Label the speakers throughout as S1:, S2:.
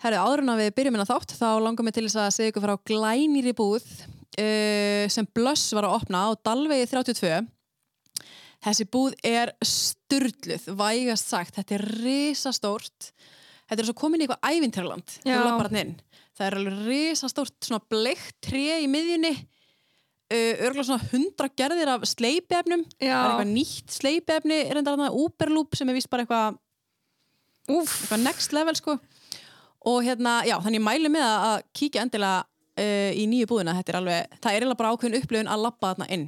S1: Herðu, áður en að við byrjum hérna þátt, þá langar mig til þess að segja ykkur frá glænýri búð uh, sem Blöss var að opna á Dalvegi 32. Þessi búð er sturdluð, vægast sagt, þetta er risastórt. Þetta er svo komin í eitthvað ævintarland,
S2: Já.
S1: þegar lappar hann inn. Það er alveg risastórt, svona bleikt tré í miðjunni, uh, örgulega svona hundra gerðir af sleipefnum. Það er eitthvað nýtt sleipefni, er enda þarna Uberloop sem er vist bara eitthvað
S2: Úf,
S1: eitthvað next level sko og hérna, já, þannig ég mæli með að að kíkja endilega uh, í nýju búðina þetta er alveg, það er eiginlega bara ákveðin upplifun að labba þarna inn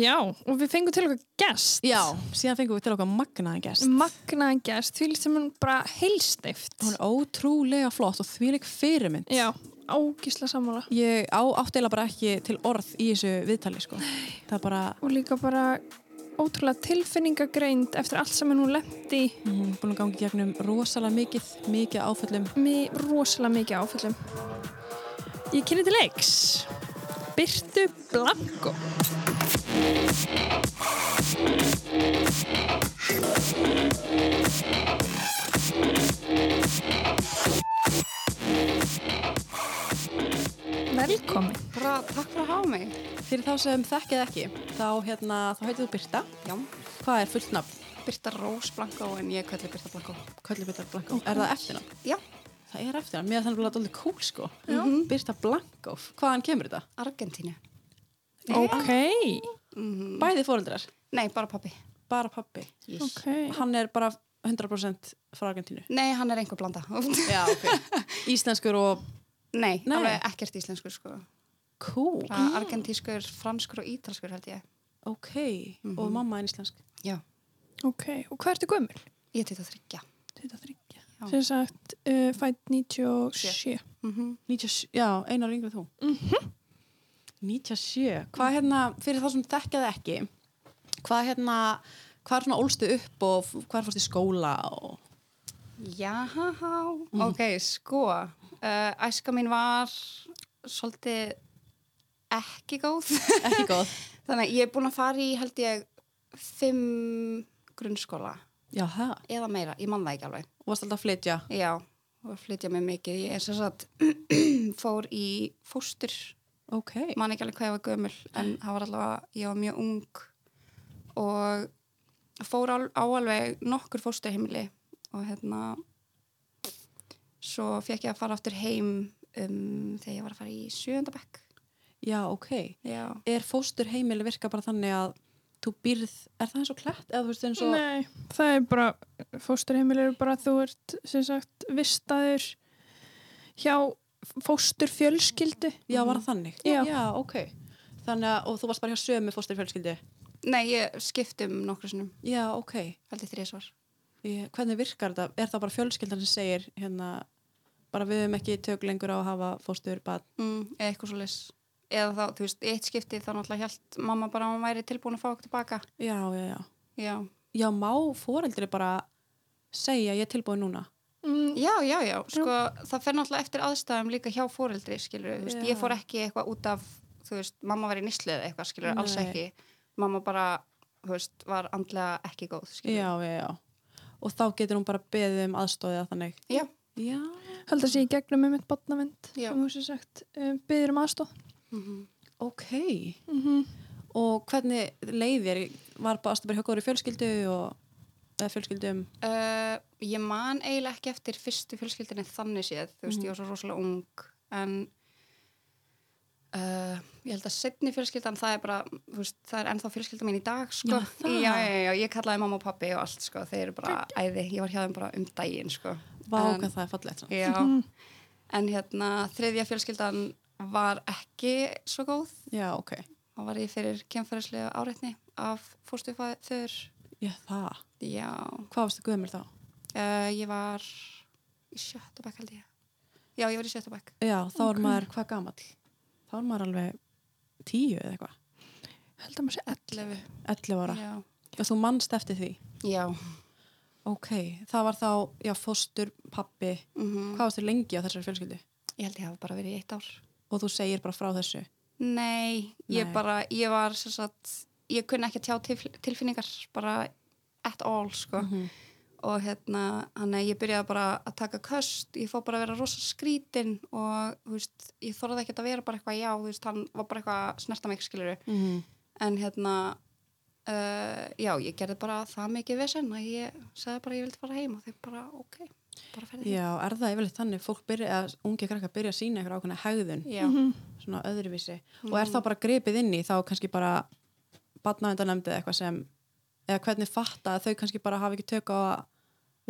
S2: já, og við fengum til okkar gest.
S1: já, síðan fengum við til okkar magnaðan gest
S2: Mm. Magnaðan gest, því sem hún bara heilstift.
S1: hún er ótrúlega flott og þvíleik fyrirmynd
S2: Já, ágísla sammála.
S1: ég á átt eiginlega bara ekki til orð í þessu viðtali sko það er bara,
S2: Og líka bara ótrúlega tilfinningagreind eftir allt sem hún lendi í
S1: hún er búin að gangi gegnum rosalega mikið, mikið af áföllum
S2: mig rosalega mikið áföllum. Ég kynni til leiks. Byrtu Blanko. Velkomin.
S3: Bara takk fyrir að hafa mig.
S1: fyrir þá sem þekkið ekki, þá hérna þá heitir þú Birta,
S3: Já,
S1: hvað er fullt nafn?
S3: Birta Rós Blanko en ég kalli Birta Blanko.
S1: Köllu Birta Blanko, er það eftirnafn?
S3: Já,
S1: Það er eftir hann, mér er þannig að það er alveg cool sko.
S3: Já.
S1: Birta Blankov, hvaðan kemur þetta?
S3: Argentínu.
S2: Ok.
S3: Mm.
S1: Bæði fóreldrar,
S3: Nei, bara pappi.
S1: bara pappi.
S3: Yes.
S2: Ok.
S1: Hann er bara 100% frá Argentínu.
S3: Nei, hann er einhver blanda.
S1: Já, ok. Íslenskur og
S3: Nei,
S1: Nei.
S3: alveg ekkert íslenskur sko.
S1: cool.
S3: Bara argentískur, franskur og ítalskur held ég.
S1: Ok, og mamma er íslensk.
S3: Já,
S2: Ok. Og hvað ertu gömul?
S3: ég til að þryggja.
S2: 23.
S3: Já.
S2: Sem sagt, uh, fætt 97.
S3: Mm
S1: 97, já, einar yngri en þú. Mm -hmm. 97, hvað hérna, fyrir það sem þekkjaði ekki, hvað hérna, hvað er svona ólstu upp og f- hvað er fórst í skóla og...
S3: Já, ok, sko. Uh, æska mín var svolítið ekki góð.
S1: Ekki góð.
S3: Þannig að ég er búin að fara í held ég fimm grunnskóla
S1: já, það.
S3: eða meira, ég man það ekki alveg.
S1: Og varst alltaf að flytja.
S3: Já, og flytja mig mikið. Ég er sem sagt, fór í fóstur,
S1: Ok.
S3: man ekki alveg hvað ég var gömul, en það var allavega, ég var mjög ung og fór al, á alveg nokkur fósturheimili og hérna, svo fekk ég að fara aftur heim um, þegar ég var að fara í sjöndabekk.
S1: Já, ok.
S3: Já,
S1: er fóstur heimili virka bara þannig að þú býrð, er það eins og klætt eða þú veist eins og
S2: Nei, það er bara, fósturheimil eru bara að þú ert sem sagt vistaður hjá fósturfjölskyldu.
S1: já, var það þannig?
S2: Já.
S1: ok. Þannig að, og þú varst bara hjá sömu fóstur fjölskyldi?
S3: nei, ég skiptum nokkru sinnum,
S1: Já, ok.
S3: heldur þrísvar.
S1: Ég, hvernig virkar þetta? Er það bara fjölskyldan sem segir hérna, bara við höfum ekki tök lengur á að hafa fóstur bad?
S3: mm, eða eitthvað svo eða þá, þú veist, í eitt skipti þá náttúrulega hjælt mamma bara að hún væri tilbúin að fá okkur tilbaka
S1: Já, já, já.
S3: já,
S1: Já, má foreldri bara segja ég er tilbúin núna?
S2: Mm,
S3: já, já, já sko, það fer náttúrulega eftir aðstæðum líka hjá fóreldri skilur, þú veist,
S1: Já.
S3: ég fór ekki eitthvað út af þú veist, mamma var í nýslu eða eitthvað skilur, alls
S1: Nei.
S3: ekki mamma bara, þú veist, var andlega ekki góð, skilur
S1: Já, já, já. Og þá getur hún bara beðið um aðstóðið að þannig?
S3: Já.
S1: Já.
S2: Held að sé í gegnum með mitt botnavend,
S3: Já.
S2: sem þú sem sagt um, byggir um aðstóð.
S3: Mhm.
S1: Ok.
S2: Mm
S1: Mhm. Og hvernig leið þér? Var bara aðstu bara hjá góður fjölskyldu og, eða fjölskyldum?
S3: Uh, ég man eiginlega ekki eftir fyrstu fjölskyldinni þannig séð, þú veist, ég var svo rosalega ung en uh, ég held að setni fjölskyldan það er bara, þú veist, það er ennþá fjölskyldan mín í dag, sko.
S1: Já, það.
S3: já, já, já, ég kallaði mamma og pappi og allt, sko, þeir eru bara æði, ég var hjá þeim bara um daginn, sko.
S1: Vá,
S3: En-
S1: hvað það er fallegt. svona.
S3: Já, en hérna, þriðja fjölskyldan var ekki svo góð,
S1: Já, ok.
S3: þá var ég fyrir kemfærislega áreitni af fórstufæður,
S1: Já, það.
S3: já,
S1: Hvað varstu gömur þá?
S3: Uh, ég var í sjötta bekk held ég. Já, ég var í sjötta bekk.
S1: Já, þá er maður hvað gamall? Þá er maður alveg tíu eða eitthvað.
S2: Held að maður sé allir.
S3: Lefu.
S1: 11 ára.
S3: Já.
S1: Já, þú mannst eftir því.
S3: Já.
S1: Ok, það var þá, já, fóstur, pappi.
S3: mhm.
S1: Hvað varstu lengi á þessari fjölskyldu?
S3: Ég held ég hafa bara verið í eitt ár.
S1: Og þú segir bara frá þessu.
S3: Nei, ég
S1: Nei.
S3: bara, ég var
S1: Mhm.
S3: sem sagt, ég kunni ekki að tjá tilf tilfinningar, bara at all, sko. og hérna, hann að ég byrjaði bara að taka köst, ég fór bara að vera rosa skrítin og, þú veist, ég þorði ekkert að vera bara eitthvað já, þú veist, hann var bara eitthvað að snerta mig, skiluru
S1: Mm.
S3: en hérna uh, já, ég gerði bara það mikið vesen að ég sagði bara að ég vildi fara heim og þeir bara, ok, bara ferði
S1: Já, er það yfirleitt þannig fólk byrja, að ungi krakkar byrja að sína eitthvað ákveðna hegðun,
S3: já,
S1: svona öðruvísi Mhm. og er það bara gripið inn í þá kannski bara batnavendanemndið eitthvað sem eða hvernig fatta að þau kannski bara hafa ekki tök á að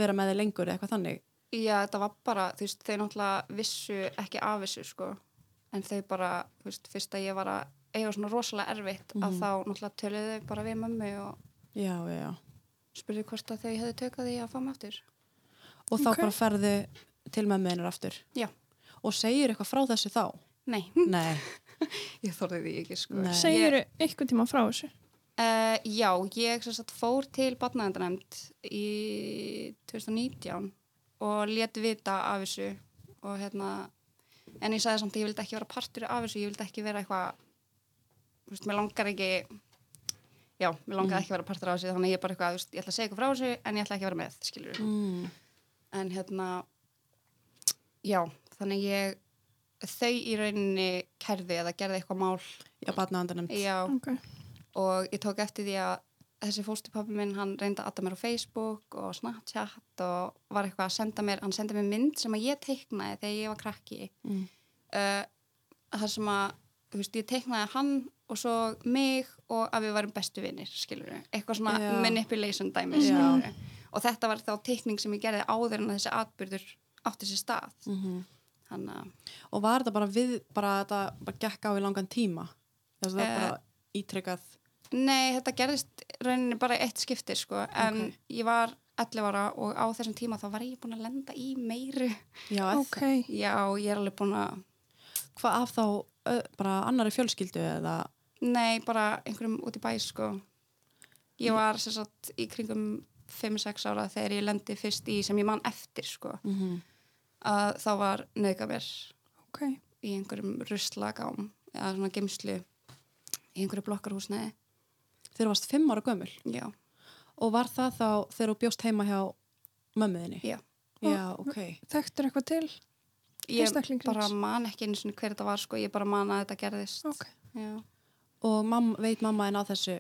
S1: vera með þeir lengur eða eitthvað þannig
S3: já, þetta var bara þú veist, þeir náttúrulega vissu ekki af þessu sko, en þeir bara þú veist, fyrst að ég var að eiga svona rosalega erfitt að þá náttúrulega töluðu þau bara við mömmu og
S1: Já, já, já
S3: spurðu hvort að þau hefðu tökað því að fá mig aftur
S1: og þá
S2: Ok.
S1: bara ferðu til með meinar aftur
S3: já,
S1: og segir eitthvað frá þessu þá
S3: nei,
S1: Nei,
S3: ég þorði því ekki sko
S1: Nei.
S2: Segir þau einhvern tíma frá þessu?
S3: Uh, já, ég sem sagt fór til batnaðendanemnd í 2019 og let vita af þessu og hérna en ég sagði samt að ég vildi ekki vera partur af þessu ég vildi ekki vera eitthvað þú veist, mér langar ekki já, mér langar ekki að vera partur af þessu þannig að ég bara eitthvað, þú veist, ég ætla að segja eitthvað frá þessu en ég ætla ekki að vera með, skilur
S1: mm.
S3: en hérna já, þannig ég þau í rauninni kerði eða gerði eitthvað mál
S1: já, batnavendanemnd
S3: já,
S2: Ok.
S3: og ég tók eftir því að þessi fóstupappi minn, hann reyndi að adda mér á Facebook og Snapchat og var eitthvað að senda mér, hann sendi mér mynd sem að ég teiknaði þegar ég var krakki
S1: Mm.
S3: uh, þar sem að þú veist, ég teiknaði hann og svo mig og að við varum bestu vinnir skilur eitthvað svona
S1: Já.
S3: manipulation dæmi
S1: Já.
S3: skilur og þetta var þá teikning sem ég gerði áður en að þessi atbyrður átti sér stað
S1: mm
S3: þannig að
S1: og var þetta bara við bara þetta bara gekk á í langan tíma þess að það
S3: Eh.
S1: bara ítrekkað
S3: Nei, þetta gerðist rauninni bara í eitt skipti sko, en
S1: Ok.
S3: ég var 11 ára og á þessum tíma þá var ég búin að lenda í meiru.
S1: já,
S2: Ok.
S1: okay.
S3: Já, ég er alveg búin að,
S1: hvað af þá ö, bara annari fjölskyldu eða
S3: nei, bara einhverjum út í bæ sko. Ég var sem sagt í kringum 5-6 ára þegar ég lendi fyrst í sem ég man eftir sko,
S1: mm
S3: að þá var nöðgað mér
S2: Ok.
S3: í einhverjum ruslagám eða svona gemslu í einhverju blokkarhúsnei.
S1: þegar þú varst fimm ára gömul
S3: Já,
S1: og var það þá þegar þú bjóst heima hjá mömmuðinni
S3: já.
S1: já, ok
S2: Þekktir eitthvað til?
S3: Ég
S2: Einstakling
S3: bara
S2: lífs.
S3: man ekki einu sinni hver þetta var sko, ég bara man að þetta gerðist.
S2: Ok.
S3: Já.
S1: og mam, veit mamma en á þessu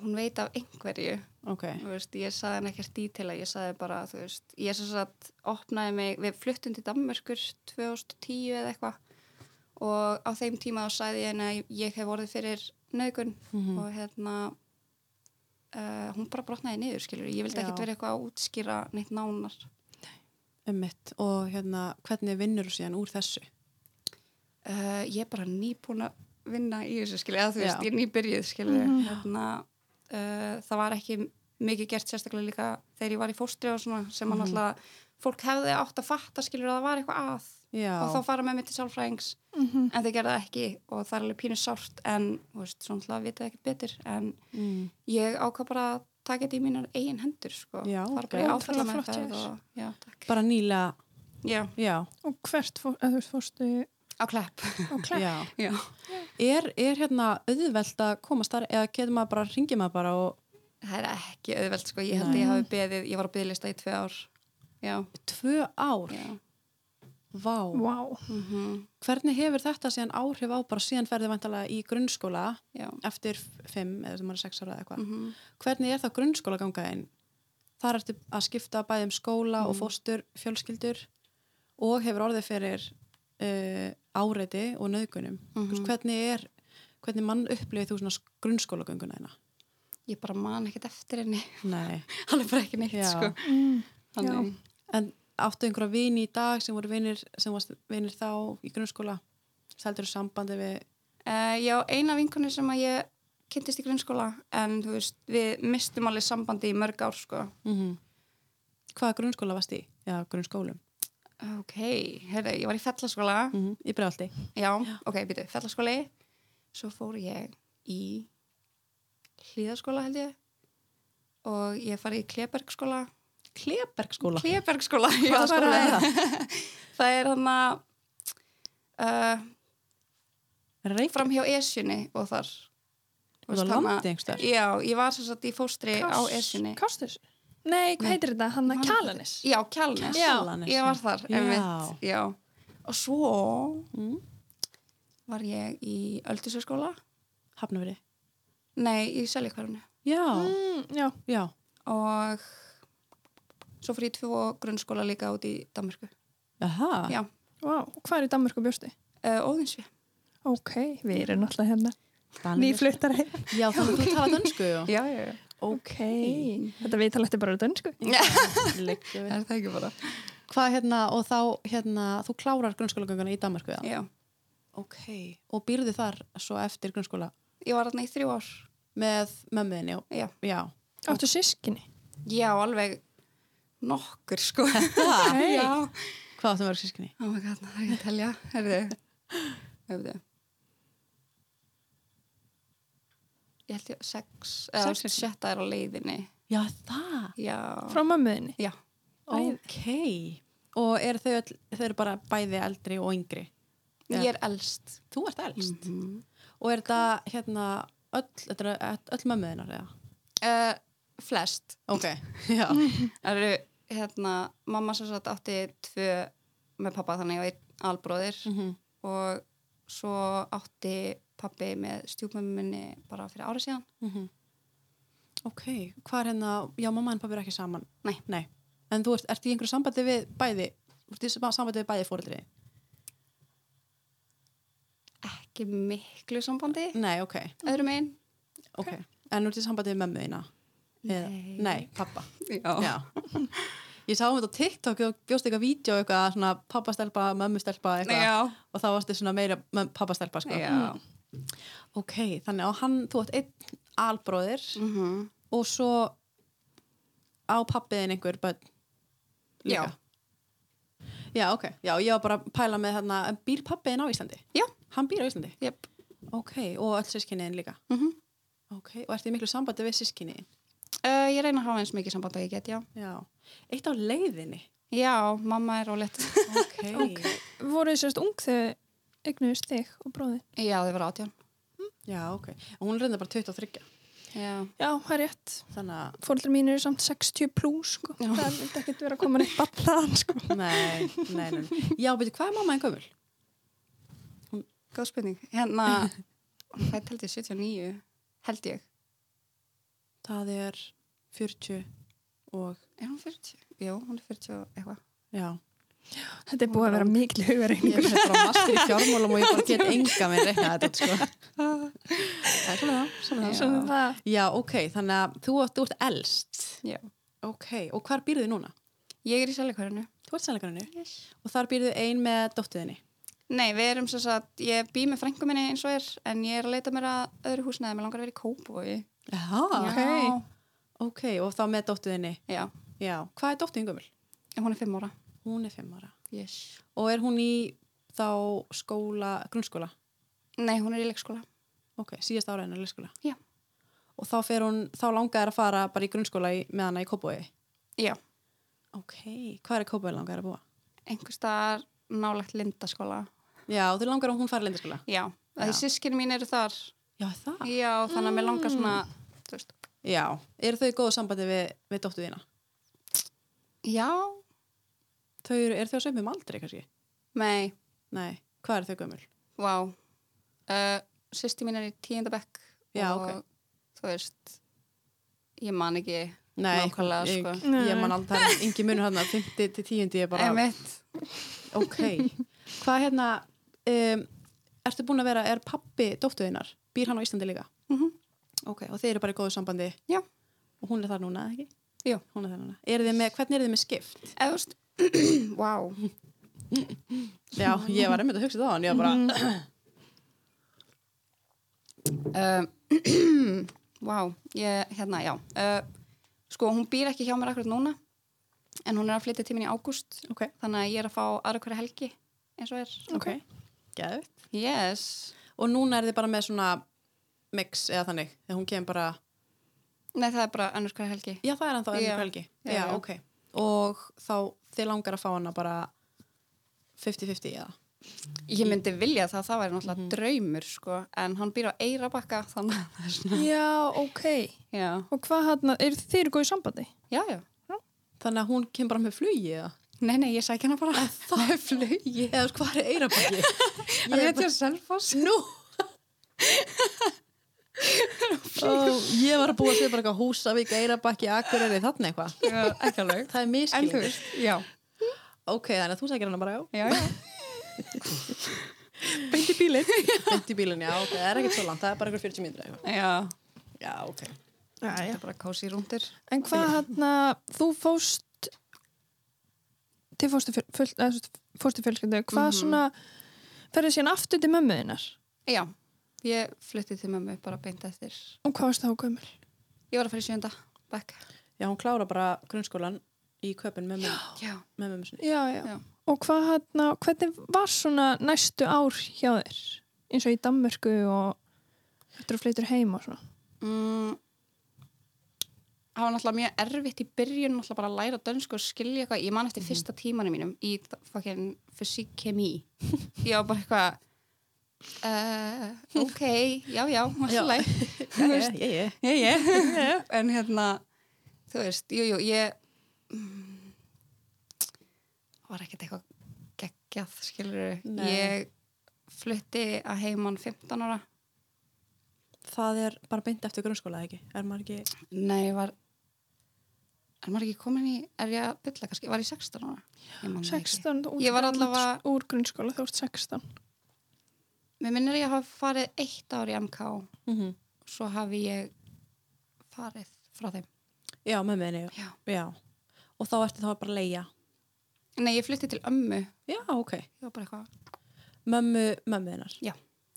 S3: hún veit af einhverju
S1: ok,
S3: þú veist, ég saði henni ekkert dítila ég saði bara, þú veist, ég sem sagt opnaði mig, við fluttum til Danmörkur 2010 eða eitthvað og á þeim tíma þá saði ég henni að ég hef orðið fyrir nögun
S1: Mhm.
S3: og hérna uh, hún bara brotnaði niður, skilur ég vildi
S1: Já.
S3: ekkert vera eitthvað að útskýra neitt nánar
S1: ummitt og hérna, hvernig vinnur þú síðan úr þessu
S3: uh, ég er bara nýbúin að vinna í þessu skilur, eða þú veist,
S1: Já.
S3: ég er nýbyrjuð skilur
S2: Mhm.
S3: hérna, uh, það var ekki mikið gert sérstaklega líka þegar ég var í fóstri og svona sem hann
S1: Mhm.
S3: alltaf, fólk hefði átt að fatta skilur að það var eitthvað að
S1: já,
S3: og þá fara með mig til sálfræðings
S2: Mhm.
S3: en þau gerði það ekki og það er alveg pínu sárt en, þú veist, svona alltaf vitið ekkert betur en
S1: mm.
S3: ég ákvað bara að taka þetta í mínar eigin hendur sko,
S1: Já,
S3: fara
S1: ok.
S3: bara í
S2: Ótrúlega
S3: áfalla með
S2: flott hjá þér.
S3: og, já, takk
S1: bara nýlega
S3: já,
S1: já,
S2: Og hvert fór, eða þú veist, fórstu
S3: á klepp
S2: á klæð?
S1: já
S3: já.
S1: Er, er hérna auðvelt að komast þar eða getur maður bara, ringir maður bara og
S3: Það er ekki auðvelt sko, ég held að ég hafi beðið, ég var á beðlista í tvei ár. Já,
S1: tvö ár,
S3: já.
S1: vá.
S2: Vá. Wow.
S3: Mm
S1: Hvernig hefur þetta síðan áhrif á bara síðan ferði vantalega í grunnskóla
S3: já.
S1: eftir f- fimm eða sem maður er sex ára eða eitthvað.
S3: Mm -hmm.
S1: Hvernig er það grunnskóla gangaðin? Þar ertu að skipta bæði um skóla og fóstur, fjölskyldur og hefur orðið fyrir uh, áreiti og nöðgunum. Mm
S3: Mhm.
S1: Hvernig er, hvernig mann upplifið þú svona grunnskóla ganguna þína?
S3: Ég bara man ekkert eftir henni,
S1: Nei.
S3: hann er bara ekki neitt
S1: Já.
S3: sko.
S2: Mm.
S3: Þannig,
S1: En áttu einhverja vini í dag sem voru vinir, sem varst vinir þá í grunnskóla? Sældur þú sambandi við...
S3: uh, já, eina vinkunni sem að ég kynntist í grunnskóla, en þú veist, við mistum alveg sambandi í mörg ár sko.
S1: Mm -hmm. Hvaða grunnskóla varst í? Já, grunnskólum.
S3: Ok, heyrðu, ég var í fellaskóla,
S1: Mm -hmm. Í bregðaldi.
S3: já, ok, býtu, fellaskóli, svo fór ég í hlýðaskóla held ég og ég farið í Klebergskóla
S1: Klebergskóla.
S3: Klebergskóla
S1: Hvaða skóla er það?
S3: Það er hann að uh,
S1: Reykjavík.
S3: fram hjá Esjunni og þar
S1: Út á
S3: Þú veist, þarna-
S1: landi einhvers staðar?
S3: Já, ég var sem sagt í fóstri á Esjunni
S2: Kastus. Nei, hvað
S3: Nei.
S2: heitir þetta? Hanna Kjalanis
S3: Já, Kjálnes.
S2: Já,
S3: Ég var þar,
S1: Já.
S3: einmitt. Já. Og svo
S1: Mm.
S3: var ég í öldusöskóla.
S1: Hafnaveri.
S3: Nei, í Seljikvarfinu.
S1: Já,
S2: mm, Já,
S1: já.
S3: Og svo fyrir ég í tvo grunnskóla líka út í Danmarku.
S1: Aha.
S3: Já.
S2: vá, hvað er í Danmörku bjósti?
S3: Uh, Óðinsvi.
S2: Ok, við erum alltaf hérna
S1: Danir.
S2: Nýfluttar heim
S1: Já, þannig að þú tala dönsku. já.
S3: Já, já, já.
S1: Ok.
S2: Þetta viðtal eftir bara dönsku
S1: Liggjum við.
S3: Er það ekki bara?
S1: Hvað hérna, og þá hérna, þú klárar grunnskólagönguna í Danmarku, já?
S3: Já.
S1: Ok. Og býrðu þar svo eftir grunnskóla
S3: Ég var þarna í þrjú ár.
S1: með mömmuðinni, já?
S3: Já.
S1: Já.
S2: Áttu sískinni
S3: Já, alveg nokkur, sko.
S1: Ha,
S2: Nei.
S3: Já.
S1: hvað áttu mörg sískinni?
S3: Oh my god, það er ekki að telja. Herðu, hefðu. Ég held ég sex, eða
S1: Sex er-
S3: sjötta er á leiðinni.
S1: Já, það.
S3: Já.
S2: frá mömmuðinni
S3: Já.
S2: Bæði.
S1: Ok. Og eru þau, öll, þau eru bara bæði eldri og yngri? Já. Mhm.
S3: Ég er elst.
S1: Þú ert elst.
S3: Mm.
S1: Og er þetta hérna öll, þetta eru öll mömmuðinnar, eða?
S3: Uh, flest.
S1: Ok, já.
S3: Það eru, hérna, mamma sem sagt átti tvö með pappa þannig og einn albróðir
S1: Mhm.
S3: og svo átti pappi með stjúpmömmu minni bara fyrir árið síðan.
S1: Mhm. Ok, hvað er hérna, já mamma en pappi er ekki saman
S3: Nei.
S1: En þú ert, ert í einhverju sambandi við bæði Þú ert í sama- sambandi við bæði fóreldri
S3: Ekki miklu sambandi,
S1: Nei, ok,
S3: öðrum einn.
S1: ok En þú ert í sambandi við mömmu þína Eða-
S3: Nei.
S1: Nei, pappa
S3: Já.
S1: Já Ég sá um þetta á TikTok og bjóst eitthvað vídeo eitthvað svona pappastelpa, mömmustelpa eitthvað
S3: Já.
S1: og þá varstu svona meira mömm- pappastelpa sko.
S3: Já.
S1: Ok, þannig að hann, þú átt einn albróðir
S3: Mm
S1: og svo á pappiðin einhver bönn líka.
S3: Já.
S1: Já, ok. Já, ég var bara að pæla með þarna, en býr pappiðin á Íslandi?
S3: Já.
S1: Hann býr á Íslandi?
S3: Jöp.
S1: Ok, og öll sískinniðin líka?
S3: Mhm.
S1: Ok, og ertu í miklu sambandi við sískinniðin?
S3: Uh, ég reyna að hafa eins mikið samband að ég get, já.
S1: Já. Eitt á leiðinni?
S3: Já, mamma er ólétt.
S1: Ok.
S2: Voruð þið sérst ung þegar eignuðist þig og bróðin
S3: já, þau var átján.
S1: Já, ok. Og hún er reynda bara 23.
S3: Já.
S2: Já, það er rétt
S1: Þannig að,
S2: Fóldri mín eru samt 60 plus sko.
S3: Já.
S2: Það er ekkert verið að koma neitt bann þaðan sko.
S1: nei, nei, nei. Já, betur, hvað er mamma en gömul?
S3: Góð spurning. Hérna, hvað held ég, 79? Held ég.
S1: Það er 40 og,
S3: Er hún 40? Jú, hún er 40 og eitthvað.
S1: já.
S2: Þetta er búið að vera mikil hugarreining
S1: Ég er bara master í fjármálum og ég bara get enga með reikna þetta út, sko. Það er svona það, svona það.
S2: Svona það
S1: Já, ok, þannig að þú, ert- þú ert elst.
S3: Já.
S1: Ok, og hvar býrðu þið núna?
S3: Ég er í seljakvarinu.
S1: Þú ert sælgarinu
S3: Yes.
S1: og þar býrðu ein með dóttiðinni.
S3: Nei, við erum sem sagt, ég bý með frængu minni eins og er, en ég er að leita mér að öðru húsnaði, mér langar að vera í Kópavogi.
S1: Já, Ah, ok.
S3: Já.
S1: Ok, og þá með dóttiðinni.
S3: Já,
S1: Já, hvað er dóttiðin gömul?
S3: en hún er fimm ára.
S1: Hún er fimm ára.
S3: Yes.
S1: Og er hún í þá skóla, grunnskóla?
S3: Nei, hún er í leikskóla.
S1: Ok, síðast ára hennar leikskóla.
S3: Já.
S1: Og þá fer hún, þá langar þér að fara bara í grunnskóla í, með hana í Kópói?
S3: Já.
S1: Ok, hvað er Kópói langar þér að búa?
S3: Einhvers staðar nálægt lindaskóla.
S1: Já, þú langar að hún fara lindaskóla?
S3: Já,
S1: Já. Ah.
S3: það er sískin mín eru þar.
S1: Já, það?
S3: Já, þannig að mér langar svona,
S1: Mm.
S3: þú veist,
S1: Já, eru þau í góðu sambandi við, við dóttu þína?
S3: já,
S1: Þau eru, eru þau á sömum aldrei kannski?
S3: nei,
S1: Nei, hvað eru þau gömul?
S3: vá. Uh, Sýsti mín er í tíundabekk.
S1: Já,
S3: og,
S1: ok.
S3: Þú veist, ég man ekki.
S1: Nei,
S3: Nákvæmlega,
S1: ég,
S3: sko.
S1: ég, ég man aldrei, um það er yngi munur hann að 50 til 10 ég bara,
S3: Emitt.
S1: ok. Hvað hérna, um, ertu búin að vera, er pappi dóttu þínar? Býr hann á Íslandi líka?
S3: Mhm.
S1: Ok, og þeir eru bara í góðu sambandi?
S3: Já.
S1: Og hún er þar núna, eða ekki?
S3: Já.
S1: Hún er þar núna. Eru þið með, hvernig eru þið með skipt?
S3: Eða, þú veist, wow.
S1: Já, ég var einmitt að hugsa það á hann, ég var bara,
S3: Mhm, Uh, wow, ég, hérna, já. Uh, sko, hún býr ekki hjá mér akkurat núna, en hún er að flytja tíminn í ágúst,
S1: ok,
S3: þannig að ég er að fá aðra hverja helgi, eins og er.
S1: ok, geðvitt.
S3: Yes.
S1: og núna er þið bara með svona mix eða þannig, þegar hún kemur bara
S3: Nei, það er bara önnur hverja helgi.
S1: já það er hann þá
S3: Já.
S1: ennur kvölgi
S3: Já,
S1: já,
S3: já.
S1: ok, og þá þið langar að fá hana bara 50-50 eða
S3: Ég myndi vilja það, það væri náttúrulega draumur, sko, en hann býr á Eirabakka, þannig að það er svona.
S2: Já, ok hérna,
S3: Já,
S2: Og hvað hann, eru þeir í góðu sambandi?
S3: já, já.
S1: Þannig að hún kemur bara með flugi eða?
S3: Nei, nei, ég sækja hana bara.
S1: Það er flugi. Eða sko, hvað er eirabæki?
S3: Það er til selfoss.
S1: Nú! Ó, ég var að búa að segja bara eitthvað húsavík, eirabæki, akureyri, þannig eitthvað.
S3: Ekki alveg.
S1: Það er
S3: En þú
S1: miskilning.
S3: veist, já.
S1: Ok, þannig að þú sækir hana bara á.
S3: Já, já.
S1: Beint í bílinn. Beint í bílinn, já, ok. Það er ekkert svo langt, það er bara einhver 40 mínútur eða eitthvað.
S3: Já.
S1: Já, ok.
S2: Já,
S3: Það er bara kási rúndir.
S2: En hvað hann þú fóst til fóstu, fjöl, fjöl, eða, sem sagt, fóstu fjölskyldu, hvað svona ferði síðan aftur til mömmuðinnar
S3: Já. Ég fluttið til mömmu bara beint eftir.
S2: og hvað varst þá gömul?
S3: Ég var að fara í sjönda. Bekk.
S1: Já, hún klára bara grunnskólan í köpun með mömmu-
S3: Já.
S1: með mömmu sinni.
S2: Já, já.
S3: Já.
S2: Og hvað hann, hvernig var svona næstu ár hjá þér? Eins og í Danmörku og eftir að flytur heim og svona.
S3: Mm. Það var náttúrulega mjög erfitt í byrjun náttúrulega bara að læra dönsku og skilja eitthvað ég man eftir fyrsta tímanum mínum í fokkin fysíkkemi ég var bara eitthvað uh, ok, já, já,
S1: Já.
S3: alltaf
S1: Já, já, já, já.
S3: ég, ég. en hérna þú veist, jú, jú, ég mm, var ekkert eitthvað geggjað, skilur
S1: Nei.
S3: ég flutti að heiman 15 ára
S1: Það er bara beint eftir grunnskóla, eða ekki? Er maður ekki...
S3: nei, ég var er maður ekki komin í, er ég að bylla kannski, var ég 16 ára ég man það ekki.
S2: 16, út,
S3: Ég var allavega-
S2: Úr grunnskóla, þú ert 16.
S3: mér minnir ég að hafa farið eitt ár í MK
S1: Mm
S3: Mhm. svo hafi ég farið frá þeim
S1: Já, mömmu henni, já.
S3: já.
S1: já. Og þá ertu þá bara að leia.
S3: nei, ég flutti til ömmu ég
S1: Já, ok.
S3: var bara eitthvað,
S1: Mömmu, mömmu hennar.
S3: Já.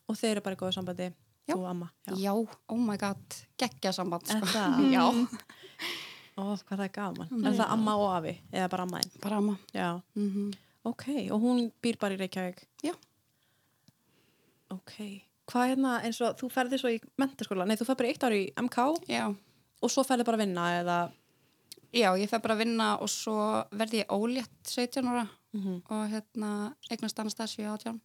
S1: Og þeir eru bara í góða sambandi,
S3: Já.
S1: þú og amma.
S3: já, oh my god geggjað samband,
S1: Er
S3: sko
S1: það?
S3: já,
S1: Ó, hvað það er gaman. Er það amma og afi? Eða bara amma Mhm. einn?
S3: bara amma
S1: Já.
S3: mm
S1: Ok, og hún býr bara í Reykjavík?
S3: Já.
S1: Ok. Hvað hérna, eins og þú ferði svo í mentaskóla? Nei, þú ferði bara í eitt ár í MK
S3: já.
S1: og svo ferði bara að vinna eða...
S3: já, ég fer bara að vinna og svo verði ég ólétt 17 ára
S1: Mhm.
S3: og hérna eignast annars það 7 átján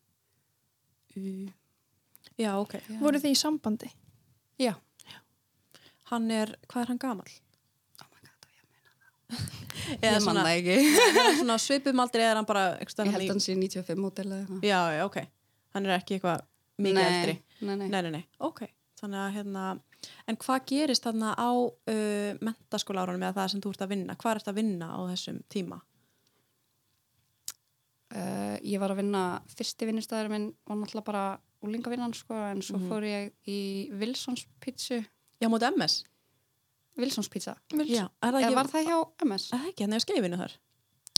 S1: Já, ok.
S2: Voru þið í sambandi?
S3: já,
S1: Hann er, hvað er hann gamal?
S3: oh my god, já.
S1: Eða
S3: ég manna
S1: svona,
S3: ekki
S1: er hann svona svipum aldrei eða er hann bara...
S3: ég held hann sé 95 mótel eða eitthvað.
S1: Já, já, ok. Hann er ekki eitthvað mikið
S3: Nei,
S1: eldri.
S3: nei, nei.
S1: Nei, nei, nei. Ok. Þannig að hérna, en hvað gerist þarna á uh, mentaskóla árunum eða það sem þú ert að vinna? Hvað ert að vinna á þessum tíma?
S3: Uh, ég var að vinna, fyrsti vinnustæður minn var náttúrulega bara úlingavinnan sko, en svo
S1: Mhm.
S3: fór ég í Wilsons pizza
S1: Já, móti MS?
S3: Wilsons pizza,
S1: Já, er það
S3: eða
S1: ekki,
S3: var það hjá MS?
S1: Er það ekki, hann er skeifinu þar.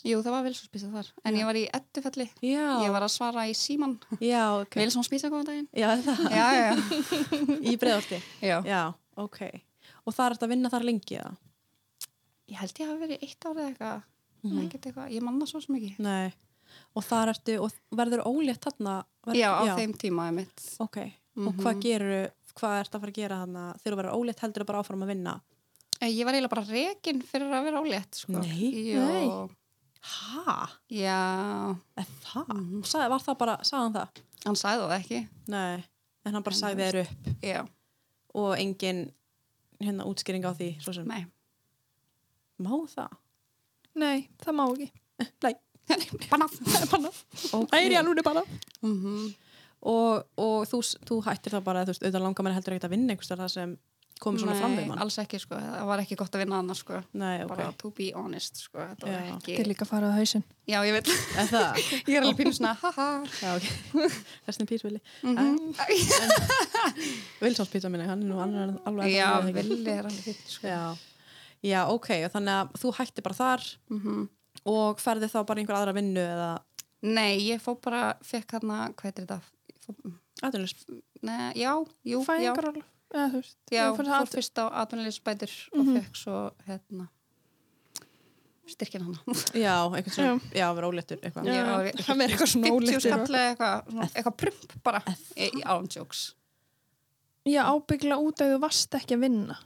S3: Jú, það var Wilsons pizza þar, en ég var í Eddufelli,
S1: Já,
S3: ég var að svara í Síman
S1: já, ok.
S3: Wilsons pizza góðan daginn
S1: Já, er það,
S3: já, já,
S1: í breðorti.
S3: já.
S1: Já, ok. Og það er þetta að vinna þar lengi eða?
S3: ég held ég hafi verið eitt árið eitthvað
S1: Mhm.
S3: mm eitthvað, ég manna svo sem ekki
S1: Nei. Og þar ertu, og verður ólétt þarna? Verður,
S3: já, á þeim tíma er mitt
S1: Ok, og
S3: Mhm.
S1: hvað gerur, hvað ert að fara að gera þarna? Þegar þú verður ólétt heldur þú bara áfram að vinna?
S3: Eh, ég var eiginlega bara rekin fyrir að vera ólétt sko.
S1: Nei.
S3: Jó.
S1: Nei. Hæ?
S3: já,
S1: Er það? Mm
S3: Mhm.
S1: Sagði, var það bara, sagði hann það?
S3: hann sagði það ekki
S1: Nei, en hann bara sagði þér upp
S3: já,
S1: og engin hérna útskýring á því, svo sem.
S3: nei
S1: Má það?
S2: Nei, það má ekki.
S1: Nei.
S3: bannað
S1: Ok.
S2: Það er ég alveg bara.
S3: mm
S1: Mhm.
S3: -hmm.
S1: og, og þú, þú hættir það bara þú veist, auðvitað langar mann heldur ekkert að vinna einhvers þar sem komur svona fram við mann
S3: alls ekki sko, það var ekki gott að vinna annars sko
S1: Nei, ok,
S3: bara to be honest sko, þetta var
S1: Já.
S3: ekki
S2: Þið er líka að fara á hausinn.
S3: já, ég veit,
S1: er það?
S3: ég er alveg pínu svona haha
S1: Já, ok, þessin písvili
S3: mm
S1: Vilsálspítsa minna, hann er nú annar alveg
S3: já,
S1: alveg-
S3: villi er alveg fyrst sko.
S1: Já. Já, ok, og þannig að þú hættir bara þar
S3: Mhm.
S1: og ferði þá bara í einhver aðra vinnu eða
S3: nei, ég fó bara, fekk hérna hvað er þetta, fó,
S1: Atvinnlis,
S3: Nei, já, jú, já,
S2: Fæðingar alveg. Eða, þú veist,
S3: já,
S2: ég
S3: fór
S2: fór það aldrei-
S3: fyrst á atvinnulegisbætur og fekk svo hérna styrkin hana
S1: já, einhvern svona, já, verið óléttur eitthvað
S2: Já.
S3: hann er eitthvað
S2: svona ólétt eitthvað.
S3: eitthvað, eitthvað, eitthvað prump bara í ándjóks
S2: Já, ábyggla út að þú varst ekki að vinna.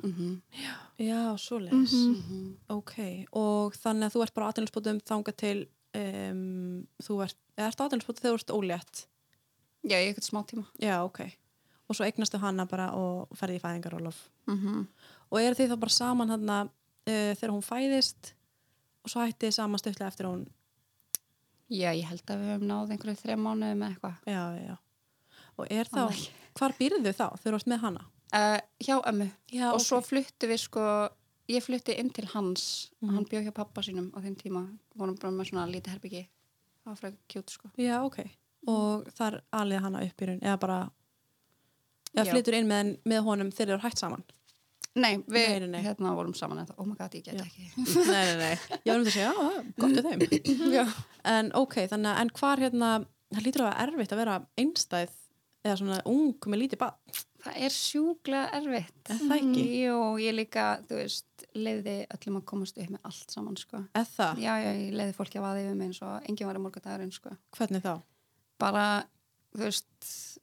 S1: Já, svoleiðis,
S3: Mhm.
S1: ok og þannig að þú ert bara atvinnlisbótum þangað til um, þú ert, eða ert atvinnlisbótum þegar þú ert ólétt
S3: já, í eitthvað smá tíma
S1: Já, ok. Og svo eignastu hana bara og ferði í fæðingarólof.
S3: mm -hmm.
S1: Og eru þið þá bara saman hann uh, þegar hún eh, fæðist og svo hætti þið saman stöðlega eftir að hún
S3: Já, ég held að við höfum náð einhverju þrejum mánuðum eða eitthvað.
S1: já, já, já. og er þá, hvar býrðu þá þau eru allt með hana
S3: Uh, hjá ömmu.
S1: já,
S3: og svo fluttu við sko, ég flutti inn til hans,
S1: Mhm.
S3: hann bjó hjá pappa sínum á þeim tíma. Vorum bara með svona lítið herbyggi. Það var fræk kjút sko.
S1: já, ok, og þar alið hana upp í raun, eða bara eða
S3: Já.
S1: flytur inn með, með honum þegar þau eru hætt saman
S3: Nei, við
S1: Nei, nei, nei.
S3: hérna vorum saman eða, oh my god, ég get
S1: Já.
S3: ekki.
S1: nei, nei, nei, ég var um þetta að segja, já, já, gott er þeim
S3: Já.
S1: en ok, þannig að en hvar hérna það lítur að vera erfitt að vera einstæð eða svona ung með lítið bad
S3: Það er sjúklega erfitt. Mm,
S1: Er það ekki?
S3: Jú, ég líka, þú veist, leiði öllum að komast upp með allt saman, sko.
S1: eða það,
S3: Já, já, ég leiði fólki að vaða yfir mig eins og enginn var í morgundagurinn, sko.
S1: hvernig þá?
S3: Bara, þú veist,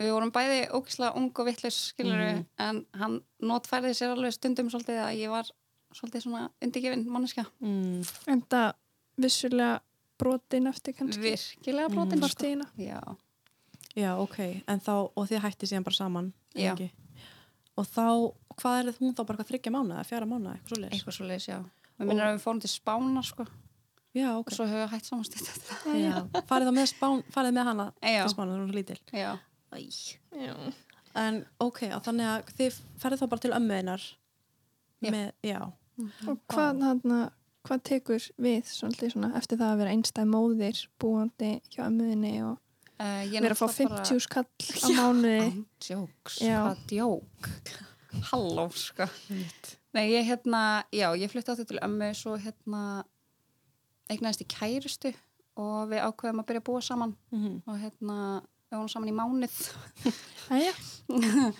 S3: við vorum bæði ógislega ung og vittlis, skiluru,
S1: Mhm.
S3: en hann notfærði sér alveg stundum svolítið að ég var svolítið svona undirgefin manneska.
S1: Mm.
S2: En það vissulega brotin eftir kannski.
S3: Virkilega
S2: Brotin
S3: brotin,
S2: var stína.
S3: Mm, sko. Já,
S1: já, ok, en þá, og þið hætti síðan bara saman
S3: Já.
S1: ekki? og þá, hvað er hún þá bara hvað þryggja mánuða, fjara mánuða, eitthvað svo leis
S3: eitthvað svo leiðis, já. Við minnum að við fórum til Spána, sko,
S1: já,
S3: og
S1: ok,
S3: svo höfum við hægt samanstýtt þetta.
S1: já. farið þá með, spán, farið með hana
S3: Já.
S1: til spána, hún er svo lítil
S3: Já.
S2: Já.
S1: en ok, á, þannig að þið ferðið þá bara til ömmuðinar
S3: Já.
S1: með, já,
S2: Og hvað, hana, hvað tekur við svolítið svona eftir það að vera einstæð móðir búandi hjá ömmuðinni og
S3: Uh, ég
S2: vera að fá
S3: náttúrulega bara-
S2: 50 skall á mánuði.
S3: Andjóks,
S2: Já.
S3: hvað djók Halló, sko Nei, ég hérna, já, ég flutti áttu til ömmu svo hérna eignaðist í kærustu og við ákveðum að byrja að búa saman
S1: mhm,
S3: og hérna, við vorum saman í mánuð
S2: Æja.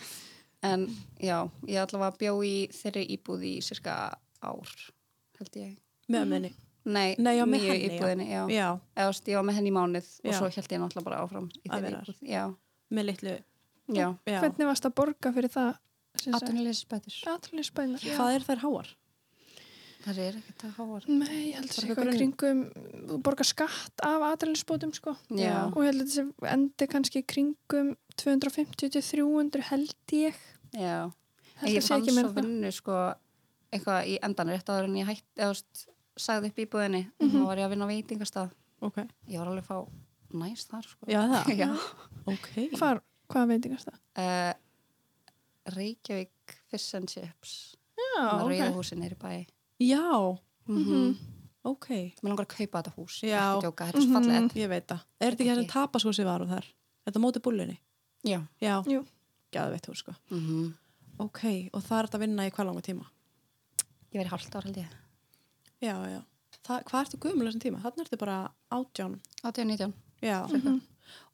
S3: en já, ég allavega bjó í þeirri íbúð í cirka ár, held ég
S1: með ömmuðinni
S3: Nei,
S1: Nei, já, með
S3: nýju
S1: henni, já.
S3: íbúðinni, já,
S1: já,
S3: Eða, þú veist, ég var með henni í mánuð og
S1: Já.
S3: svo held ég náttúrulega bara áfram
S1: Að
S3: í þeirri
S1: vera þar.
S3: íbúð Já,
S1: með litlu
S3: já,
S1: já.
S2: Hvernig varst að borga fyrir það?
S3: atvinnulegis betur
S2: Atvinnulegis bæna.
S1: hvað er þær háar?
S3: Það er ekkert að háa
S2: Nei, ég held að sé
S1: Bara
S2: eitthvað
S1: grunn-
S2: í kringum, þú borgar skatt af aðræðinsbótum sko
S3: Já.
S2: og ég held að þetta endi kannski í kringum 250 til 300 held ég.
S3: Já,
S2: Held
S3: ég
S2: að sé
S3: fann
S2: ekki meira en
S3: svo
S2: það.
S3: vinnu sko eitthvað í endan rétt áður en ég hætti eða þú veist, sagði upp íbúðinni
S2: Mhm.
S3: mm þá var ég að vinna á veitingastað
S1: ok,
S3: ég var alveg að fá næst þar sko
S1: já það,
S3: Já.
S1: ok
S2: Hvar, hvað veitingast það?
S3: Eh, Reykjavík Fish and Chips
S2: Já,
S3: það
S2: ok. Mhm.
S3: rauða húsin er í bæ
S1: já,
S3: mm -hmm.
S1: ok,
S3: Mér langar að kaupa þetta hús
S1: Já.
S3: ekki djóka, þetta er svo fallið
S1: ég veit það er þetta ekki það sem tapaskósi var og þar þetta móti búlunni,
S2: Mhm.
S3: Já
S1: já,
S2: Jú.
S1: geðveitt húr sko
S3: mm -hmm.
S1: ok, og það er þetta að vinna í hvað langa tíma
S3: Ég verið hálft ára held ég
S1: já, já, það, hvað ertu gömul þessum tíma þannig ertu bara átján
S3: 18-19
S1: já,
S2: Mhm.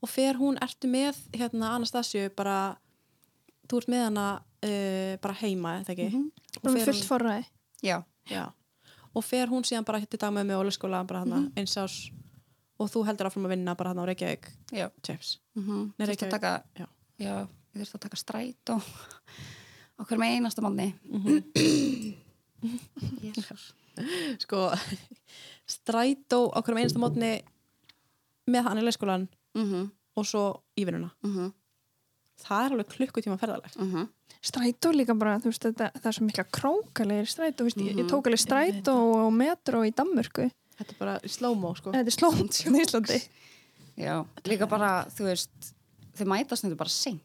S1: og fer hún, ertu með hérna Anastasju bara þú ert með hana uh, bara heima, eða ekki
S3: Mhm.
S1: og,
S2: Bara með
S1: fer um-
S2: fullt
S1: hún,
S2: forræði.
S3: Já,
S1: já, og fer hún síðan bara hittu dag með mig og leikskóla bara hana
S2: Mhm.
S1: eins ás og þú heldur áfram að vinna bara hana á Reykjavík
S3: já
S1: Chips
S3: mm -hmm.
S1: Nei,
S3: Þurfti
S1: Reykjavík.
S3: að taka
S1: Já.
S3: Já, ég þurfti að taka stræt og okkur með einasta manni
S2: Mhm.
S3: Jésus
S1: sko, strætó á hverjum einasta mótni með hann í leikskólan
S3: Mhm,
S1: og svo í vinnuna.
S3: mhm,
S1: Það er alveg klukkutíma ferðaleg.
S3: mhm.
S2: Strætó líka bara, þú veist, þetta, það er svo mikla krókalegir strætó, veist, ég, ég tók alveg strætó og metro í Danmörku.
S1: Þetta er bara í slow-mo, sko.
S2: Þetta er slónt í Íslandi.
S3: Já, líka bara, þú veist þau mætast þetta bara seint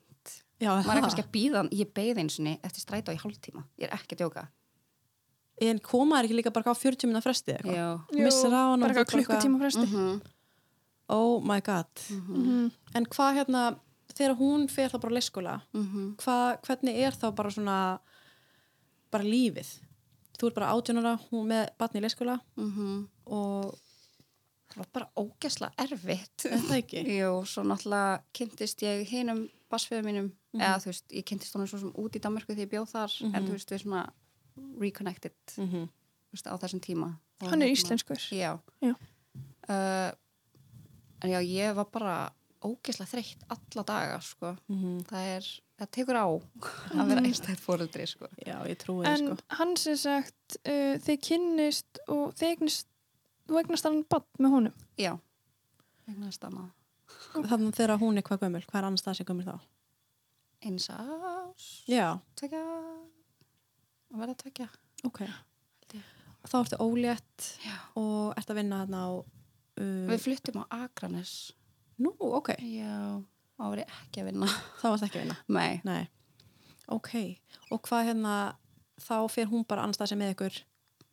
S1: Já,
S3: maður er
S1: það.
S3: kannski að býða, ég beði eins og eftir stræt á í hálftíma, ég er ekki að djóka
S1: En koma er ekki líka bara á 40 minna fresti eða eitthvað?
S3: Já,
S2: Jú,
S1: Missir á hana og
S2: Bara
S1: þú
S2: eitthvað klukkutíma fresti.
S3: mhm,
S1: Oh my god.
S2: Mhm.
S1: En hvað hérna, þegar hún fer þá bara á leikskóla,
S3: mhm
S1: hvað, hvernig er þá bara svona, bara lífið? Þú ert bara átjónara, hún með batni í leikskóla
S3: mhm.
S1: og
S3: Það var bara ógesla erfitt
S1: er það ekki.
S3: Jú, svo náttúrulega kynntist ég hinum basfiðu mínum,
S1: Mhm.
S3: eða þú veist, ég kynntist honum svo sem út í Danmarku þegar ég bjóð þar, en þú veist, við svona reconnected, þú
S1: Mm -hmm.
S3: veist, á þessum tíma. Og
S2: Hann er
S3: hérna-
S2: íslenskur.
S3: Já.
S2: Já.
S3: Uh, en já, ég var bara ógeðslega þreytt alla daga, sko. Það er, það tekur á að vera einstætt fóreldri, sko.
S1: Já, ég trúi það,
S2: En
S1: sko.
S2: hann sem sagt, uh, þið kynnist og þið eignist, þú eignast hann bann með honum.
S3: Já. Egnaðist annað.
S1: Þannig þegar hún er hvað gömul, hvað er annars það sem gömul þá?
S3: Eins ás,
S1: Já,
S3: tvekja, að vera tvekja.
S1: ok. þá ertu ólétt
S3: Já.
S1: og ert að vinna þarna á um,
S3: Við fluttum á Akranes.
S1: Nú, ok,
S3: Já, þá var ég ekki að vinna.
S1: þá varst ekki að vinna
S3: Nei,
S1: Nei, ok Og hvað hérna, þá fer hún bara annars það sem með ykkur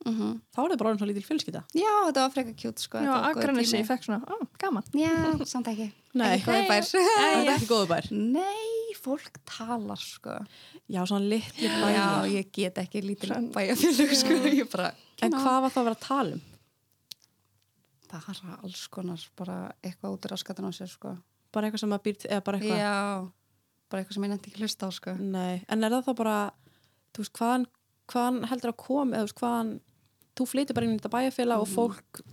S3: mhm.
S1: Þá er það bara orðin svo lítil fjölskylda
S3: Já, þetta var frekar kjút sko.
S2: Já,
S3: þetta var góður
S2: Akranesi, ég
S3: tími.
S2: fekk svona, á, gaman.
S3: Já, samt ekki.
S1: Nei,
S3: Ekki góður bær.
S1: það er ekki góðu bær
S3: Nei, fólk talar sko.
S1: Já, svona litli bæjar
S3: Já, ég get ekki lítil bæjarfélög sko. Ég bara,
S1: En hvað var það að vera að tala um?
S3: bara alls konar, bara eitthvað út í raskatun á sér sko.
S1: Bara eitthvað sem að býr til, eða bara eitthvað
S3: Já, bara eitthvað sem ég nefndi ekki hlusta á sko.
S1: Nei, en er það þá bara þú veist, hvaðan, hvaðan heldur að koma eða þú veist, hvaðan, þú flytur bara inn í þetta bæjarfélag og fólk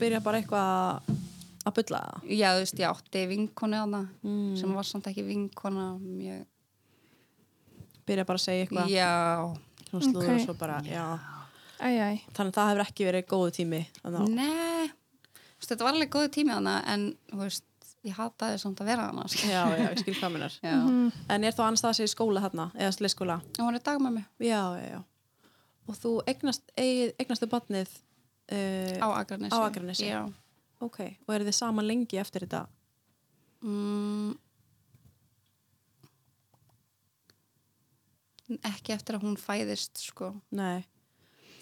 S1: byrja bara eitthvað að- að bulla það
S3: Já, þú veist, ég átti vinkonu þarna
S1: Mm.
S3: sem var samt ekki vinkona mjög,
S1: byrja bara að segja eitthvað
S3: já,
S1: svona slúður og
S2: Ok.
S1: svo bara, já
S2: Æj, æj.
S1: þannig að það hefur ekki verið góðu tími þannig að-
S3: nei þú veist, þetta var alveg góðu tími þarna en, þú veist, ég hataði samt að vera þarna sko.
S1: já, já, ég skil hvað minnar
S3: Já,
S2: Mhm.
S1: en er þá annars það að segja skóla þarna, eða slisskóla
S3: og hún er dagmæmi
S1: já, já, já og þú eignast, eigið- eignastu barnið uh,
S3: á Akranesi
S1: Á Akranesi.
S3: Já,
S1: ok, og eru þið saman lengi eftir þetta
S3: mm, ekki eftir að hún fæðist sko,
S1: nei,